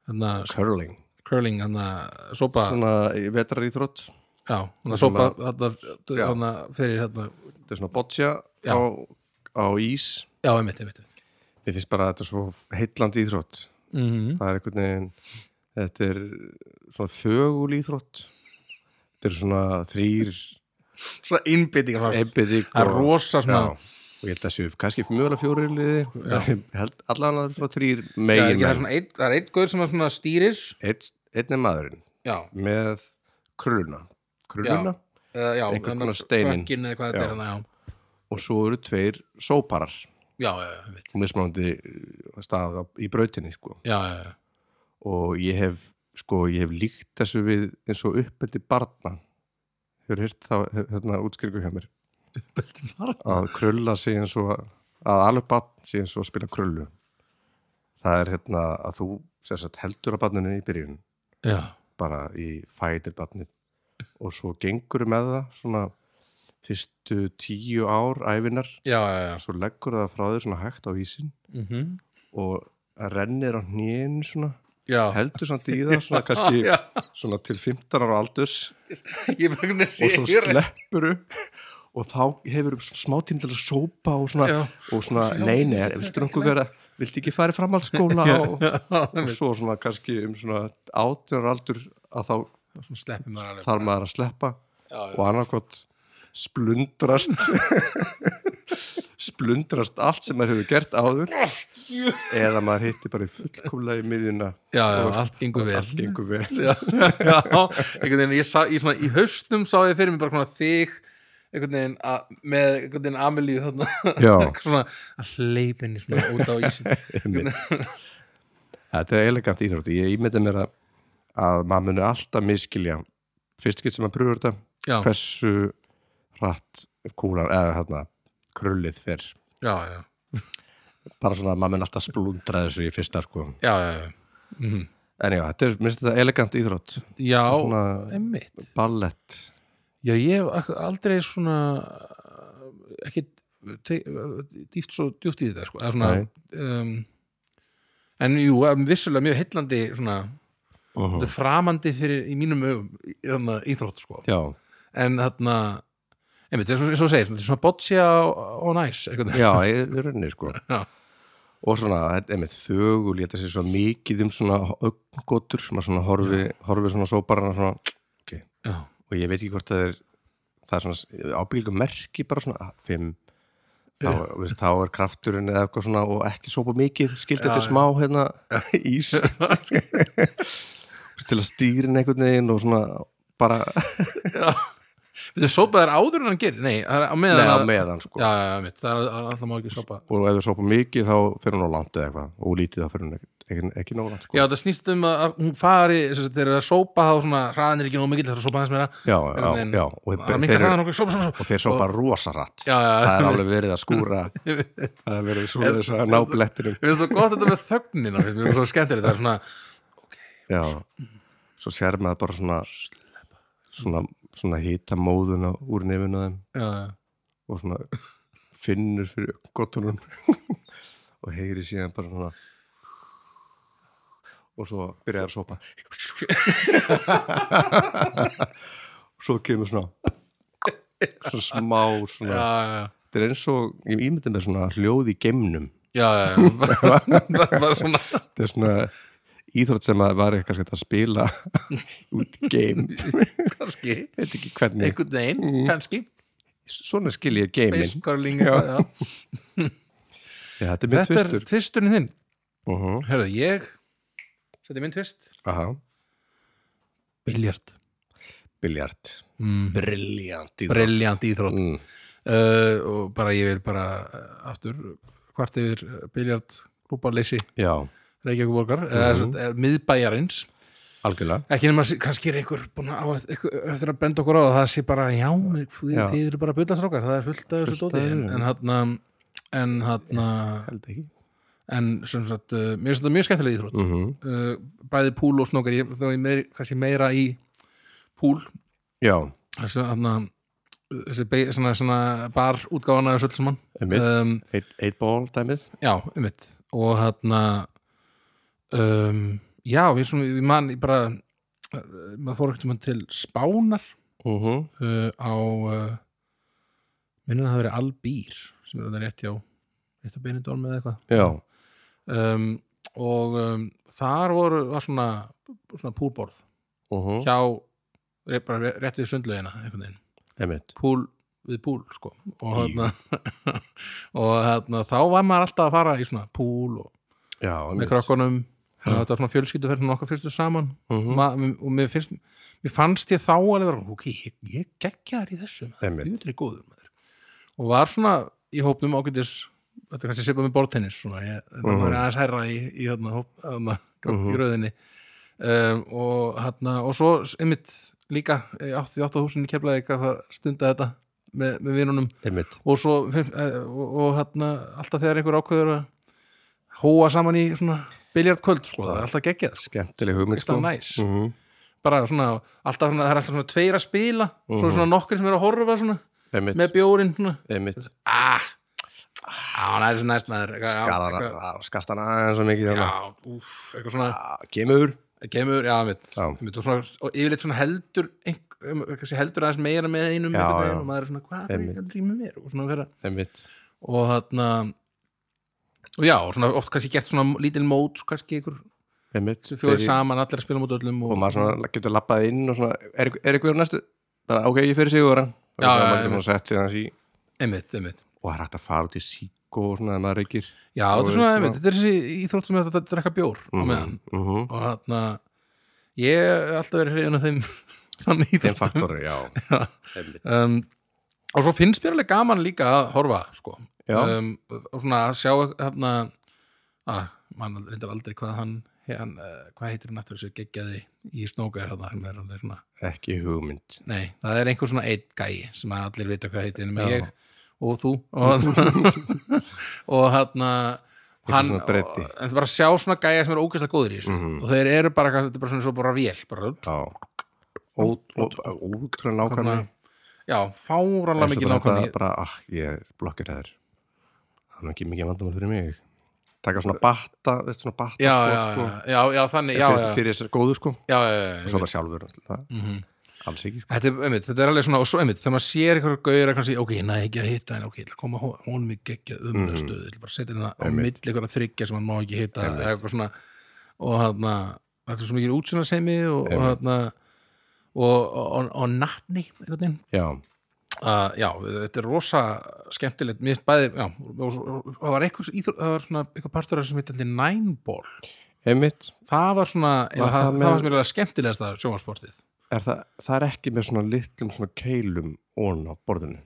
B: þannig að
A: curling
B: curling hann að sopa
A: svona vetrar íþrótt
B: já, hann að sopa
A: Já.
B: hann að fyrir hérna
A: þetta er svona boccia
B: Já.
A: á, á ís
B: já, einmitt, einmitt
A: mér finnst bara að þetta er svo heitlandi íþrótt
B: mm -hmm.
A: það er einhvern veginn þetta er svona þögul íþrótt þetta er svona þrýr
B: svona innbyttingar það
A: ebbedig
B: er rosa
A: já,
B: svona
A: og ég held að séu kannski mjögulega fjórir liði [LAUGHS] Ég held allan að það er svona þrýr
B: það
A: megin
B: er ekki það er svona einn- það er einn gaur sem að svona stýrir
A: einn, einn er maðurinn
B: já,
A: með krulluna krulluna
B: eða, já
A: Einhvers
B: hann
A: konar
B: að
A: steinin.
B: kökkinn eða hvað þetta
A: Já.
B: er hann að já
A: og svo eru tveir sóparar
B: já, já, já, einmitt
A: og mismunandi eh, stað á- í brautinni sko.
B: já, já, já,
A: og ég hef sko, ég hef líkt þessu við eins og uppeldi barna hefur hýrt þá hérna útskýringu hjá mér að krulla sé eins og að alveg barn sé eins og að spila krullu það er hérna að þú sem sagt, heldur að barninu í byrjun
B: já,
A: bara í fætir barnið og svo gengur með það svona fyrstu tíu ár æfinar
B: já, já, já.
A: svo leggur það frá þér svona hægt á ísin
B: Mhm.
A: og rennir á hnén svona
B: já.
A: heldur samt í það svona kannski
B: [LAUGHS] já,
A: svona til 15 ára aldurs
B: ég bara hvernig sé
A: og svo sleppur upp og þá hefur um smá tím til að sópa og svona,
B: Já.
A: og svona nei, nei, viltu nokkuð vera viltu ekki fara í framhaldsskóla og, og svo svona kannski um svona 18 ára aldur að þá
B: svona sleppir maður alveg
A: þarf maður að sleppa
B: já, já.
A: og annarkot splundrast [LAUGHS] splundrast allt sem maður hefur gert áður eða maður hitti bara í fullkomlega í miðjuna
B: já, já, allt gengur vel
A: allt
B: [LAUGHS]
A: gengur vel
B: já, já, einhvern veginn ég sá, ég svona, í haustum sá ég fyrir mér bara svona þig einhvern veginn að, með einhvern veginn Amelíu þarna
A: Já.
B: [LAUGHS] svona að hleypinni svona út á ísin
A: [LAUGHS] þetta er elegant íþrótt ég ímynda mér að, að maður muni alltaf miskilja fyrst ekki sem maður pröfur þetta
B: já,
A: hversu hratt kúlan eða hérna krullið fyrr
B: já, já,
A: bara svona að maður muni alltaf splundra þessu í fyrsta sko
B: já, já, já. Mhm.
A: en já, þetta er minnst þetta elegant íþrótt
B: já
A: Svona-
B: einmitt
A: ballett
B: já, ég hef ak- aldrei svona ekki te- dýft svo djúft í þetta sko, eða svona
A: Nei.
B: um, en jú, em, vissulega mjög heillandi svona,
A: uh
B: þetta er framandi fyrir í mínum augum í- þarna íþrótt sko
A: já,
B: en þarna einmitt, eins og eins og þú segir, þetta er svona boccia og, og næs einhvern veginn.
A: já, í í rauninni sko
B: Já.
A: og svona, þetta er með þögul ég þetta sé svo mikið um svona augngotur, maður svona horfi, horfi svona sóparana svona,
B: já,
A: og ég veit ekki hvort það er það er svona ábyggjum merki bara svona, að, fimm þá, veist, þá er krafturinn eða eitthvað svona og ekki sópa mikið, skildi
B: Já,
A: þetta
B: já.
A: smá hérna, [LAUGHS] ís [LAUGHS] til að stýrin einhvern veginn og svona bara,
B: já. Þetta sópað er áður en hann gerir nei, það er á meðan
A: neða
B: að-
A: meðan sko.
B: Já, já, já, einmitt, það er alltaf má ekki sópa
A: og ef það sópa mikið þá fyrir hún á langt eða eitthvað og lítið þá fyrir hún ekkert ekki, ekki nála sko.
B: Já, það snýst um að að hún fari sem sagt, þeir eru að sópa þá svona hraðan er ekki nóg mikill það er að sópa hans meira
A: já, já,
B: en-
A: já, og
B: það
A: þeir,
B: minkar
A: þeir,
B: hraðan okkur, sópa, sópa,
A: og þeir svo bara rosaratt
B: Já, já,
A: það er alveg verið að skúra
B: [LAUGHS]
A: það er verið svo þess að ná blettinum
B: Mér finnst það gott þetta með þögnina, finnst mér svo skemmtilegt, það er svona,
A: já, svo sér maður bara svona svona, svona hýta móðuna úr nefinu á þeim
B: já,
A: og svona finnur fyrir gottunum [LAUGHS] og heyri síðan bara svona og svo byrjar að sopa [LAUGHS] svo kemur svona svona smá
B: já,
A: svona,
B: já, já,
A: þetta er eins og ég ímyndi með svona hljóð í geimnum
B: já,
A: [LAUGHS]
B: já, já, bara- bara bara svona,
A: þetta er svona íþrótt sem að var eitthvað að spila [LAUGHS] út í geim
B: kannski,
A: veit ekki hvernig,
B: einhvern veginn, kannski,
A: svona skil ég geimin
B: beiskarling,
A: Mm. Já.
B: já, já.
A: Já, þetta er minn
B: Þetta er Mhm.
A: tvistur
B: tvisturinn þinn.
A: uh -huh.
B: Hörðu, ég, þetta er minn tvist. Biljart.
A: biljart
B: Mm.
A: Briljant í
B: Briljant íþrótt.
A: Mm.
B: Uh, og bara ég vil bara uh, aftur hvart yfir eh, biljart klúbarleysi
A: Já,
B: Reykjavík borgar, mm
A: Mhm.
B: -hmm. uh, miðbæjarins.
A: algjörlega
B: ekki nema s- kannski er einhver búin að á að- einhver- eftir að benda okkur á að það sé bara já, þið,
A: Já.
B: þið eru bara bullastrákar það er fullt af þessu
A: Fullt af
B: dóti en,
A: þessu.
B: en þarna en þarna
A: Held ekki
B: en sem sagt, uh, mér finnst þetta mjög skemmtilega íþrótt
A: Mhm.
B: uh, bæði púl og snókar ég, þá er ég meir, kannski meira í púl
A: Já,
B: þessu þarna þessi be, svona, svona bar útgáfana þessu öll saman
A: einmitt,
B: um,
A: eitt, eitt ból dæmið
B: já, um mitt og þarna um, já, við, svona, við man ég bara uh, maður fór ekkert til Spánar
A: uh -huh.
B: uh, á uh, minnum að það hafi verið Albír sem er þetta rétt hjá rétt á Benidorm eða eitthvað
A: Já,
B: um, og um, þar voru var svona, svona púlborð
A: uh -huh.
B: hjá ré- bara ré- rétt við sundlaugina einhvern veginn,
A: einmitt
B: púl við púl sko og
A: Í.
B: hérna [LAUGHS] og hérna þá var maður alltaf að fara í svona púl og
A: Já,
B: með
A: einmitt
B: krakkonum og þetta var svona fjölskylduferð svona okkar fyrstu saman
A: uh
B: mm. Ma, og mér, finnst, mér fannst ég þá alveg vera, ok, ég, ég geggja þær í þessu
A: Einmitt.
B: maður, ég góður maður og var svona í hópnum ágætis þetta er kannski sipað með bortennis svona, ég, þetta
A: Mhm.
B: var aðeins hærra í, í, þarna, hóp, þarna,
A: Mhm.
B: í rauðinni um, og, þarna, og svo einmitt líka eh, 88 húsinni keflaði ekki að stunda þetta með, með vinunum
A: Einmitt
B: og svo eh, og, og þarna, alltaf þegar einhver ákveður að hóa saman í svona biljartkvöld sko, það er alltaf geggjað sko,
A: Skemmtileg hugmynd
B: það er næs
A: uh -huh.
B: bara svona, alltaf svona, það er alltaf svona tveir að spila svo er
A: Mhm.
B: svona nokkur sem eru að horfa svona
A: Einmitt,
B: með bjórin svona
A: einmitt
B: ah, ah, hún er svo næst maður eitthvað, já, eitthvað,
A: Skastana, skastana aðeins og mikið
B: já,
A: þarna.
B: úf, eitthvað svona
A: Ah, Kemur
B: kemur, já, mitt,
A: Já.
B: mitt og, svona, og yfirleitt svona heldur einhver, kannski heldur aðeins meira með einum
A: Já,
B: einhvern
A: já.
B: veginn og maður er svona, hvað er
A: Einmitt.
B: ég að rýma mér og svona þeirra
A: Einmitt
B: og þarna og já, og svona oft kannski gert svona lítil mót kannski ykkur
A: Einmitt
B: fjóri
A: Þegar-
B: saman, allir að spila mót öllum
A: Og maður svona getur labbað inn og svona Er, er eitthvað á næstu? Bara, ok, ég fyrir sigurðan
B: Já, já,
A: maður getur
B: einmitt.
A: svona sett sér hans í
B: einmitt, einmitt
A: Og það er hægt að fara út í síkó og svona ef maður reykir
B: Já,
A: Og
B: þetta er svona,
A: veist,
B: einmitt, þetta er þessi íþrótt sem er þetta að drekka bjór á meðan
A: mm -hmm.
B: og þarna ég hef alltaf verið hreyfuna þeim [LAUGHS] þannig
A: Þeim
B: íþrótt
A: faktori,
B: [LAUGHS]
A: já Einmitt
B: um, og svo finnst mér alveg gaman líka að horfa sko
A: Já.
B: um, og svona að sjá þarna að mann reyndar aldrei hvað hann, hann uh, hvað heitir hann aftur þessi geggjaði í snókaðir þarna hann er alveg svona
A: Ekki hugmynd
B: Nei, það er einhver svona einn gæi sem að allir vita hvað heitir nema
A: Já.
B: ég og
A: [LAUGHS]
B: þú og, og hann hann,
A: svona breiddi.
B: og- en bara sjá svona gæja sem eru ógeðslega góðir í þessu
A: Mhm.
B: og þeir eru bara, þetta er bara svona svo bara vél bara,
A: Já Ótrúlega nákvæmni
B: Þarna- já, fáranlega mikið nákvæmni
A: Bara, ah, ég er blokkir aður Það er nú ekki mikið vandamál fyrir mig Taka svona batta, veist svona batta
B: já,
A: skot,
B: já,
A: sko,
B: já, já, já, þannig já,
A: fyrir,
B: já, já,
A: fyrir þessar góðu sko
B: já, já,
A: Og
B: já,
A: svo
B: já.
A: bara sjálfur náttúrulega.
B: Mhm.
A: Alls ekki sko
B: Þetta er, einmitt, þetta er alveg svona, og svo einmitt, þegar maður sér einhverja gauðir að kannski, ok, ég næ ekki að hitta henni, ok, ég ætla að koma hó- honum í geggjað umlega
A: Mhm.
B: stöðu, ég ætla bara að setja henni á
A: Einmitt.
B: milli einhverja þryggja sem hann má ekki hitta,
A: Einmitt.
B: eða eitthvað svona, og hann, þetta er svo mikið útsýnarsemi og, og
A: Einmitt.
B: hann, og, og, og, og nattni, einhvern veginn,
A: Já,
B: uh, já, þetta er rosa skemmtilegt, mér finnst bæði, já, og, svo- og það var eitthvað, íþrótt- það var svona, eitthvað partur af þessu sem heitir allir nænból,
A: einmitt
B: það var svona,
A: Var
B: var
A: það
B: það, það,
A: með-
B: var sem er skemmtilegasta sjónvarsportið.
A: er það, það er ekki með svona litlum svona keilum ón á borðinu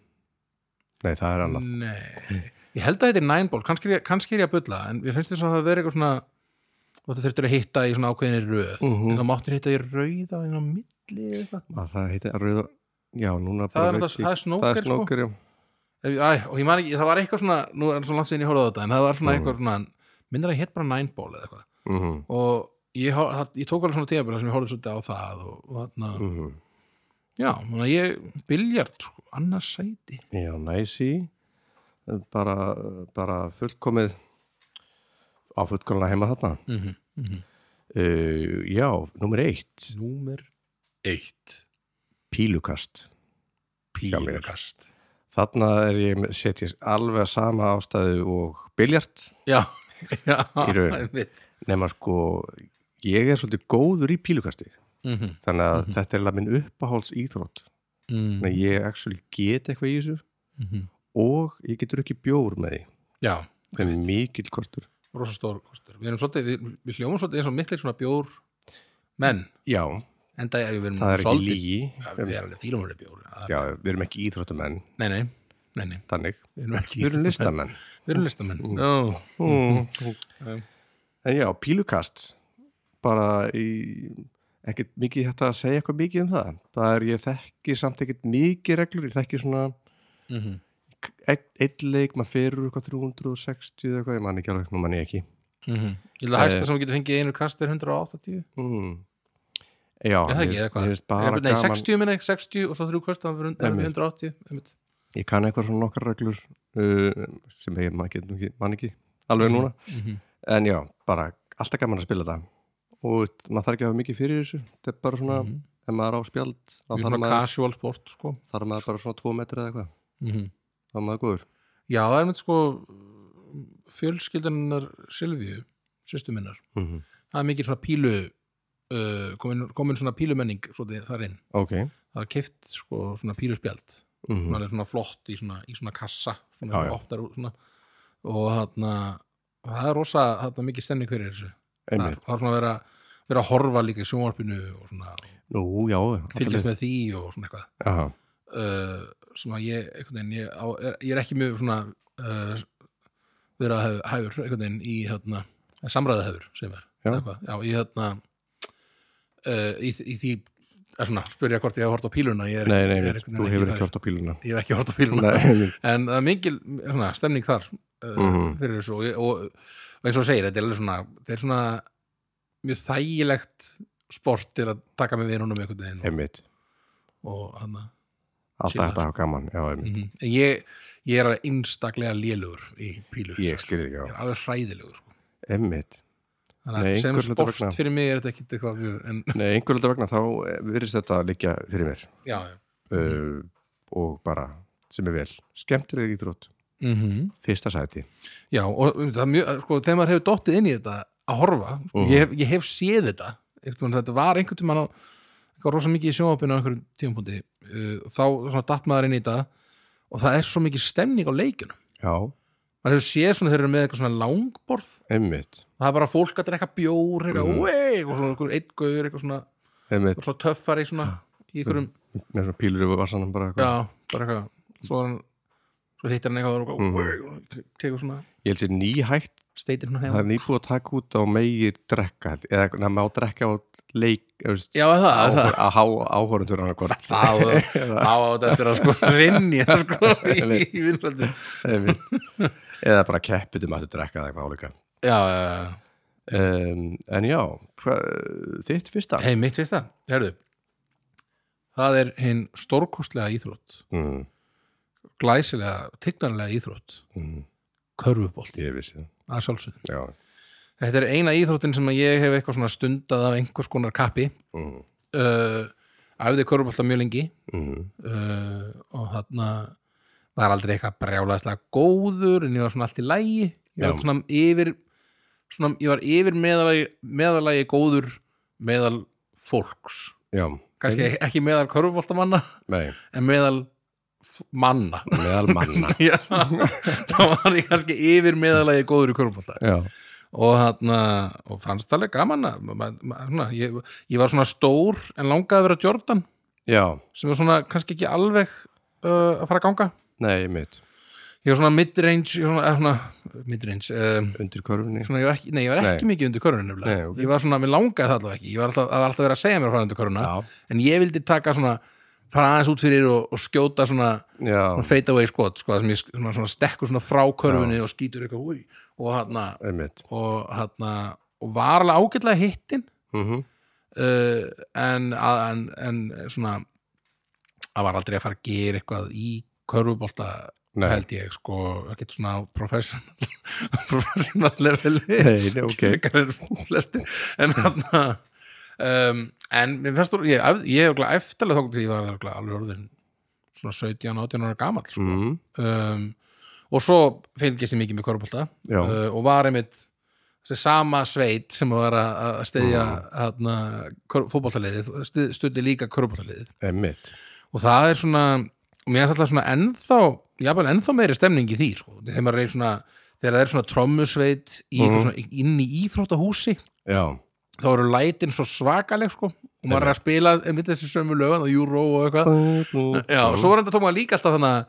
A: Nei, það er
B: Mm.
A: annað
B: Nei, ég held að þetta er nænból kannski, er ég- kannski er ég að bulla en við finnst þess að það hafa verið eitthvað svona og þú þurftur að hitta í svona ákveðinni röð mm
A: Mhm.
B: -hmm. þá máttur hitta í rauða inn á milli eða eitthvað.
A: að það heiti að rauða já, núna
B: það
A: bara
B: er,
A: veit
B: það,
A: ég-
B: það
A: það
B: er
A: er
B: snóker sko.
A: snóker, já
B: Ef- Æ, og ég man ekki, það var eitthvað svona nú er það svo langt sér ég horfði á þetta en það var svona
A: Mm.
B: eitthvað svona minnir að hétt bara nænból eða eitthvað
A: mhm,
B: og ég, hor- það, ég tók alveg svona tíma sem ég horfði svolítið á það og, og þarna,
A: mhm
B: já, þannig að ég biljart, sko, annars sæti
A: Já, næsi bara, bara fullkomið á fullkomlega heima þarna
B: mm -hmm. Mm
A: mhm.
B: -hmm.
A: uh, Já, númer eitt
B: Númer eitt
A: pílukast mér.
B: Pílukast
A: Þarna er ég, set ég alveg að sama ástæðu og biljart
B: Já, já,
A: Í raun.
B: einmitt.
A: nema sko, ég er svolítið góður í pílukasti
B: Mhm,
A: þannig að þetta er alveg minn uppáhalds íþrótt
B: mm,
A: þannig að ég actually get eitthvað í þessu
B: mhm.
A: og ég getur ekki bjór með því
B: Já,
A: það er mikill kostur
B: rosa stór kostur Við erum svolítið, við, við hljómum svolítið eins og miklir svona bjór menn,
A: Já,
B: enda að við erum
A: það er ekki
B: svolítið
A: lígi
B: Já, Við erum alveg fílumur bjór
A: Já, við erum ekki íþróttamenn
B: Nei, nei, nei, nei
A: þannig
B: Við erum ekki
A: Við erum listamenn Hmm.
B: Við erum listamenn mm.
A: En já, pílukast bara í ekkert mikið hægt að segja eitthvað mikið um það það er ég þekki samt ekkert mikið reglur ég þekki svona
B: mm -hmm.
A: einn einn leik, maður ferur eitthvað 360 eða eitthvað, ég man ekki alveg, nú man ég ekki
B: Ég vil að
A: Eh.
B: hæsta sem við getum fengið í einu kast er 180
A: mm. Já,
B: Er það
A: mér
B: ekki eða
A: finnst-
B: hvað?
A: mér finnst bara
B: Nei,
A: gaman
B: 60 minna, 60 og svo þrjú kast og það er
A: Einmitt.
B: 180 einmitt.
A: ég kann eitthvað svona nokkar reglur uh, sem ég man ekki, nú ekki- man ekki alveg núna
B: Mhm.
A: en já, bara alltaf gaman að spila þetta og maður þarf ekki að hafa mikið fyrir þessu þetta er bara svona,
B: Mhm.
A: ef maður er á spjald þá
B: Við
A: þarf
B: erum að
A: maður,
B: casual sport sko
A: þarf maður bara svona 2 metri eða eitthvað,
B: mm
A: þá er maður góður
B: Já, það er með sko fjölskyldaninnar Silvíu, sýstu minnar
A: mm
B: það er mikil svona pílu uh, komin, komin svona pílumenning svo þar inn,
A: ok
B: það er keift sko, svona píluspjald,
A: mm
B: svona, alveg svona flott í svona, í svona kassa svona
A: Já,
B: já,
A: já.
B: Opnar, úr svona, og þarna og það er rosa, þarna mikil stemning fyrir þessu það
A: einmitt,
B: er, það er svona að vera, vera að horfa líka í sjónvarpinu og svona
A: nú já
B: fylgjast með því og svona eitthvað
A: Aha,
B: uh, sem að ég, einhvern veginn, ég, á, er, ég er ekki mjög svona uh, vera hæfur, hæfur einhvern veginn í hérna, samræða hæfur, sem er
A: Já.
B: já, í hérna uh, í, í því, er svona, spyrja hvort ég hef hort á píluna, ég er,
A: nei, nei,
B: ég
A: nei,
B: er einhvern
A: þú
B: veginn
A: hefur
B: þar.
A: ekki hort á píluna
B: ég hef ekki hort á
A: [LAUGHS]
B: píluna
A: nei, einmitt.
B: en það er mikil svona, stemning þar uh,
A: Mhm.
B: fyrir þessu og, ég- og, og eins og þú segir, þetta er alveg svona þetta er svona mjög þægilegt sport til að taka með vinunum einhvern veginn og,
A: einmitt,
B: og hann
A: alltaf
B: Chilla.
A: þetta hafa gaman já, einmitt,
B: -hmm. ég, ég er alveg einstaklega lélugur í pílu sko.
A: ég skilði ekki á
B: er alveg hræðilegur sko.
A: einmitt,
B: Þannig
A: Nei,
B: að sem
A: einhvers hluta
B: sport
A: vegna.
B: fyrir mig er þetta ekkit eitthvað mjög- en,
A: nei, einhverjum vegna þá eh, virðist þetta liggja fyrir mér
B: já, já.
A: uh, og bara, sem er vel skemmtileg íþrótt, fyrsta sæti
B: Mhm. já og um, það er mjög, sko, þegar maður hefur dottið inn í þetta að horfa, sko,
A: Mhm.
B: ég, hef, ég hef séð þetta eitthvað, þetta var einhvern tímann á eitthvað rosa mikið í sjónvapinu á einhverjum tímapunkti uh, þá svona datt maður inn í þetta og það er svo mikið stemning á leikinu
A: já,
B: maður hefur séð svona þeir eru með eitthvað svona langborð
A: einmitt,
B: og það er bara fólk að drekka bjór eitthvað,
A: Mhm.
B: mm. og svona einhver einn gaur eitthvað svona
A: einmitt
B: og svo töffari svona
A: Ah.
B: í einhverjum,
A: Mm, með svona pílur yfir vassanum bara eitthvað.
B: já, bara eitthvað svo, er hann, svo hittir hann eitthvað og mm. tekur svona,
A: ég held sér nýhægt,
B: steitir hann
A: það er nýbúið að taka út á megi drekka, held- eða það má drekka á leik, eða veist,
B: já, er það, er það
A: áhor, að há áhorundur hann hvort
B: Það á þetta eftir að
A: [LAUGHS]
B: sko rinni sko, í, í vinsældu Já, [LAUGHS]
A: Einmitt. eða bara keppið um að þetta drekka eða eitthvað álíka
B: já, já,
A: um, en já, hva, þitt fyrsta
B: hei, mitt fyrsta, herðu Það er hinn stórkostlega íþrótt
A: mm,
B: glæsilega, tignanlega íþrótt
A: mm,
B: körfubolti,
A: ég vissi það
B: að sjálfsögðu
A: já,
B: Þetta er eina íþróttin sem að ég hef eitthvað svona stundað af einhvers konar kappi
A: mm,
B: uh, æfði körfubolta mjög lengi
A: mm,
B: uh, og þarna var aldrei eitthvað brjálaðislega góður en ég var svona allt í lægi ég var
A: Já.
B: svona yfir svona, ég var yfir meðalagi, meðalagi góður meðal fólks
A: já,
B: kannski ekki meðal körfuboltamanna
A: nei,
B: en meðal f- manna
A: meðal manna
B: Já, þá var ég kannski yfir meðalagi góður í körfubolta
A: já,
B: og þarna, og fannst það alveg gaman að, ma, ma, svona, ég, ég var svona stór en langaði að vera Jordan
A: já,
B: sem er svona kannski ekki alveg uh, eh, að fara að ganga
A: nei, mitt
B: ég var svona midrange ég var svona, eh, svona midrange um,
A: undir körfunni
B: svona, ég var ekki, nei, ég var ekki mikið undir körunni
A: Nei,
B: nefnilega
A: ok.
B: ég var svona, mér langaði það allavega ekki ég var alltaf, það var alltaf verið að segja mér að fara undir köruna
A: já,
B: en ég vildi taka svona fara aðeins út fyrir og, og skjóta svona,
A: já,
B: svona fade away skot sko, það sem ég sk- svona, svona stekkur svona frá körfunni og skýtur eitthvað úi og hann
A: einmitt
B: og hann og var alveg ágætlega hittin
A: mm -hmm.
B: uh, en, að- en, en svona það var aldrei að fara að gera eitthvað í körfubolta
A: nei,
B: held ég sko, ekkert svona á professional [LAUGHS] professional leveli
A: [LAUGHS] nei, nei, ok
B: frekar en flestir en hann um, en mér finnst þú, ég, æfði- ég hef örugglega æft alveg þókn til ég var örugglega alveg orðin svona 17, 18 ára gamall sko.
A: mm,
B: um, og svo fylgist ég mikið með korfbólta
A: já,
B: uh, og var einmitt þessi sama sveit sem var að- að steyja mm. fótbóltaliðið, stundi líka korfbóltaliðið
A: Eh. einmitt
B: og það er svona og mér er alltaf svona ennþá jafnvel ennþá meiri stemning í því sko. þegar maður er svona þegar það er svona trommusveit í,
A: Mhm.
B: svona, inn í íþróttahúsi
A: já,
B: þá eru lætin svo svakaleg sko. og maður er að spila einmitt þessi sömu lögan og Euro og eitthvað já, og svo var þetta tók maður líka alltaf þannig að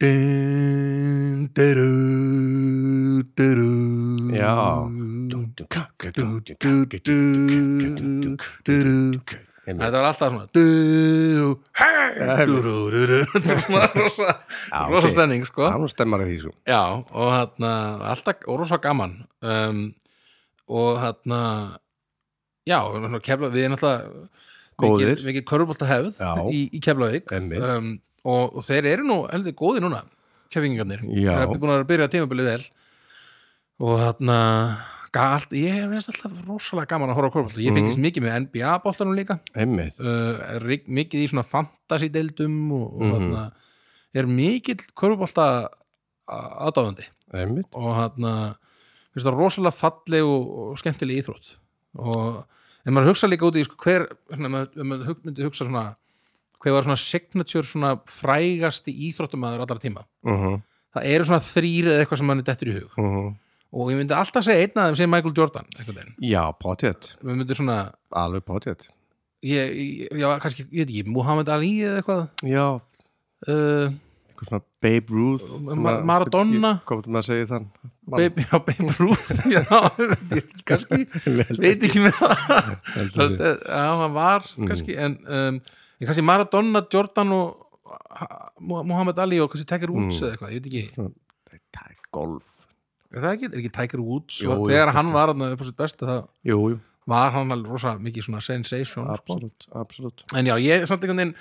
B: Dun, deru, deru,
A: Já.
B: Dun, du, du, du, du, du. Nei,
A: einmitt
B: þetta var alltaf svona du, hei, du, du, du, du. [LAUGHS] Þetta var svona rosa,
A: Já,
B: rosa
A: ok.
B: stemning sko.
A: hann stemmar að því sko
B: já, og þarna alltaf, og rosa gaman um, og þarna já, og þarna kefla, við erum alltaf
A: Góðir.
B: mikið, mikið körfubolta hefð
A: Já.
B: í, í Keflavík
A: Einmitt.
B: um, og, og þeir eru nú heldur góði núna kefingarnir,
A: Já.
B: þeir eru búin að byrja tímabilið vel og þarna galt, ég veist alltaf rosalega gaman að horfa á körfubolta,
A: Mhm.
B: ég fengist mikið með NBA-boltanum líka
A: einmitt,
B: uh, rík- mikið í svona fantasy-deildum og, og
A: Mhm.
B: þarna er mikill körfubolta aðdáðandi
A: einmitt
B: og þarna finnst það rosalega falleg og, og skemmtileg íþrótt og en maður hugsa líka út í sko, hver, svona, ef maður, ef maður hug- myndi hugsa svona hver var svona signature svona frægasti íþróttumæður allra tíma
A: uh -huh,
B: það eru svona þrýr eða eitthvað sem manni dettur í hug
A: uh -huh.
B: og ég myndi alltaf segja einn af þeim sem Michael Jordan einhvern veginn,
A: já, potjett,
B: við myndum svona
A: alveg potjett
B: ég, ég, já, kannski, ég veit ekki, Muhammad Ali eða eitthvað
A: já,
B: uh,
A: eitthvað svona Babe Ruth
B: Ma- Maradona.
A: hvað er maður að segja þann
B: Babe, já, Babe Ruth [LAUGHS] já, ég kannski veit ekki með það Það-
A: Babe
B: já, hann var
A: Mm.
B: kannski en um, ég kannski Maradona, Jordan og ha- Mu- Muhammad Ali og kannski Tiger Woods
A: Mm.
B: eða eitthvað, ég veit ekki
A: golf
B: er það ekki, er ekki Tiger Woods
A: Jú,
B: og
A: jú,
B: þegar
A: kannski.
B: hann var hann upp á sitt besta þá
A: jú, jú,
B: var hann alveg rosa mikið svona sensation sko.
A: absolutt, absolutt
B: en já, ég samt einhvern veginn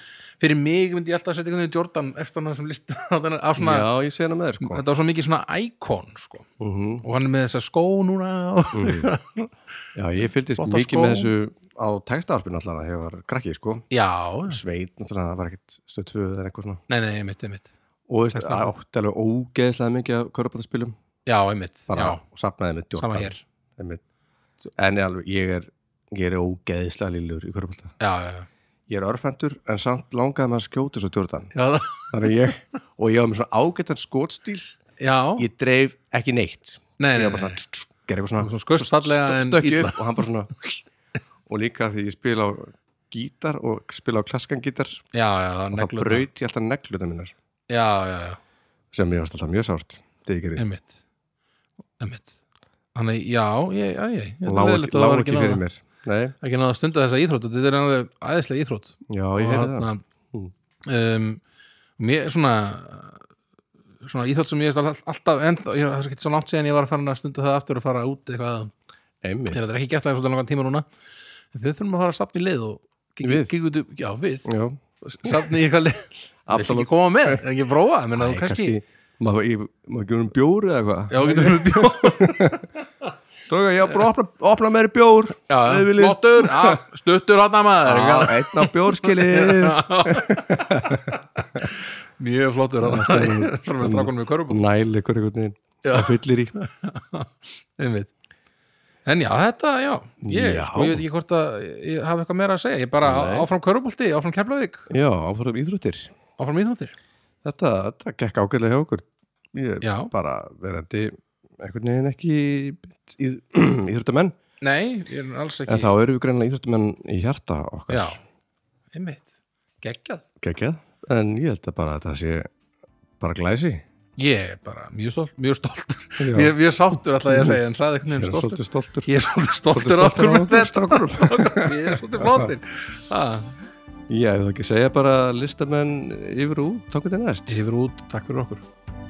B: fyrir mig myndi ég alltaf að setja einhvern veginn Jordan eftir hann sem [LAUGHS] list af svona,
A: já, ég sé hana með þér sko
B: þetta var svo mikið svona icon sko.
A: uh
B: og hann er með þessa skó núna
A: Mm.
B: og mhm.
A: [LAUGHS] já, ég fylgist
B: Botta
A: mikið
B: skó.
A: með þessu á textaarpinu alltaf þegar ég var krakki sko
B: já,
A: sveit, náttúrulega, það var ekkert stöð tvöð eða eitthvað svona
B: Nei, nei, einmitt, einmitt
A: og veist,
B: Textaarpinu.
A: átti alveg ógeðslega mikið af körpataspilum
B: Já, einmitt,
A: bara
B: já,
A: og sapnaði með
B: sama
A: djórtan
B: hér
A: einmitt. en ég alveg, ég er ég er ógeðslega lillur í körpata
B: Já, já, já,
A: ég er örfendur en samt langaði maður að skjóta svo djórtan
B: já, það-
A: þannig að ég, og ég var með svona ágættan skotstíl
B: já
A: ég dreif ekki neitt
B: Nei,
A: ég
B: nei,
A: var bara svona,
B: nei,
A: tss, tss, gerði eitthvað
B: Þú
A: svona
B: skaust fallega en
A: stökk
B: illa.
A: upp og hann bara svona og líka því ég spila á gítar og spila á klaskan gítar
B: já, já, það
A: og þá
B: neglur
A: braut ég alltaf negluta mínar
B: Já, já, já,
A: sem ég varst alltaf mjög sárt þegar ég gerði,
B: einmitt Einmitt Þannig, já, ég, já, ég Þetta er
A: lá
B: leiðilegt
A: ekki,
B: að
A: lá
B: það var
A: ekki
B: náð-
A: fyrir mér nei,
B: Ekki náða að stunda þessa íþrótt Þetta er alveg æðislega íþrótt
A: já, ég heyrði það Hmm.
B: það um, Mér, svona Svona íþrótt sem ég er alltaf ennþá, ég, það er ekki svo langt síðan ég var að fara að stunda það aftur og fara út eitthvað
A: einmitt,
B: Þegar þetta er ekki gert það svolítið langan tíma núna en þau þurfum að fara að safna í lið og gik-
A: Við?
B: gik út um- já við,
A: já,
B: safna í eitthvað lið Vilt ekki
A: absolutt
B: koma með, ekki prófa ég meina, þú kannski,
A: kannski, maður ég- maður gefur um bjór eða eitthvað
B: já, getum við bjór
A: [LAUGHS] Dróka, já, bara opna, opna meiri bjór
B: já,
A: Ef þið viljið.
B: flottur, já, stuttur hana maður
A: Já,
B: eitthvað.
A: einn á bjórskilið
B: [LAUGHS] mjög flottur
A: [LAUGHS]
B: hana svona með strákunum við körubum
A: næl ykkur einhvern veginn
B: Já.
A: og fyllir í
B: einmitt En já, þetta, já, ég,
A: Já.
B: sko, ég veit ekki hvort að ég hafi eitthvað meira að segja, ég bara
A: Nei.
B: áfram körubolti, áfram keflaðik,
A: já, áfram íþróttir
B: áfram íþróttir.
A: þetta, þetta gekk ágæðlega hjá okkur ég
B: Já.
A: bara verandi einhvern veginn ekki í, [CLEARS THROAT] íþróttamenn
B: Nei, ég er alls ekki,
A: en þá eru við greinlega íþróttamenn í hjarta okkar
B: já, einmitt, geggjað.
A: geggjað, en ég held að bara þetta sé bara glæsi
B: Ég er bara mjög stolt, mjög stolt.
A: Já.
B: Ég, ég er sáttur alltaf ég að segja, en saði einhvern
A: Ég er
B: veginn stoltur.
A: svolítið stoltur
B: Ég er svolítið stoltur af okkur með þetta.
A: [LAUGHS]
B: Ég er svolítið flottir. Ha,
A: Já, ef þú ekki segja bara listamenn yfir og út, þá hvernig næst
B: Yfir og út, takk fyrir okkur.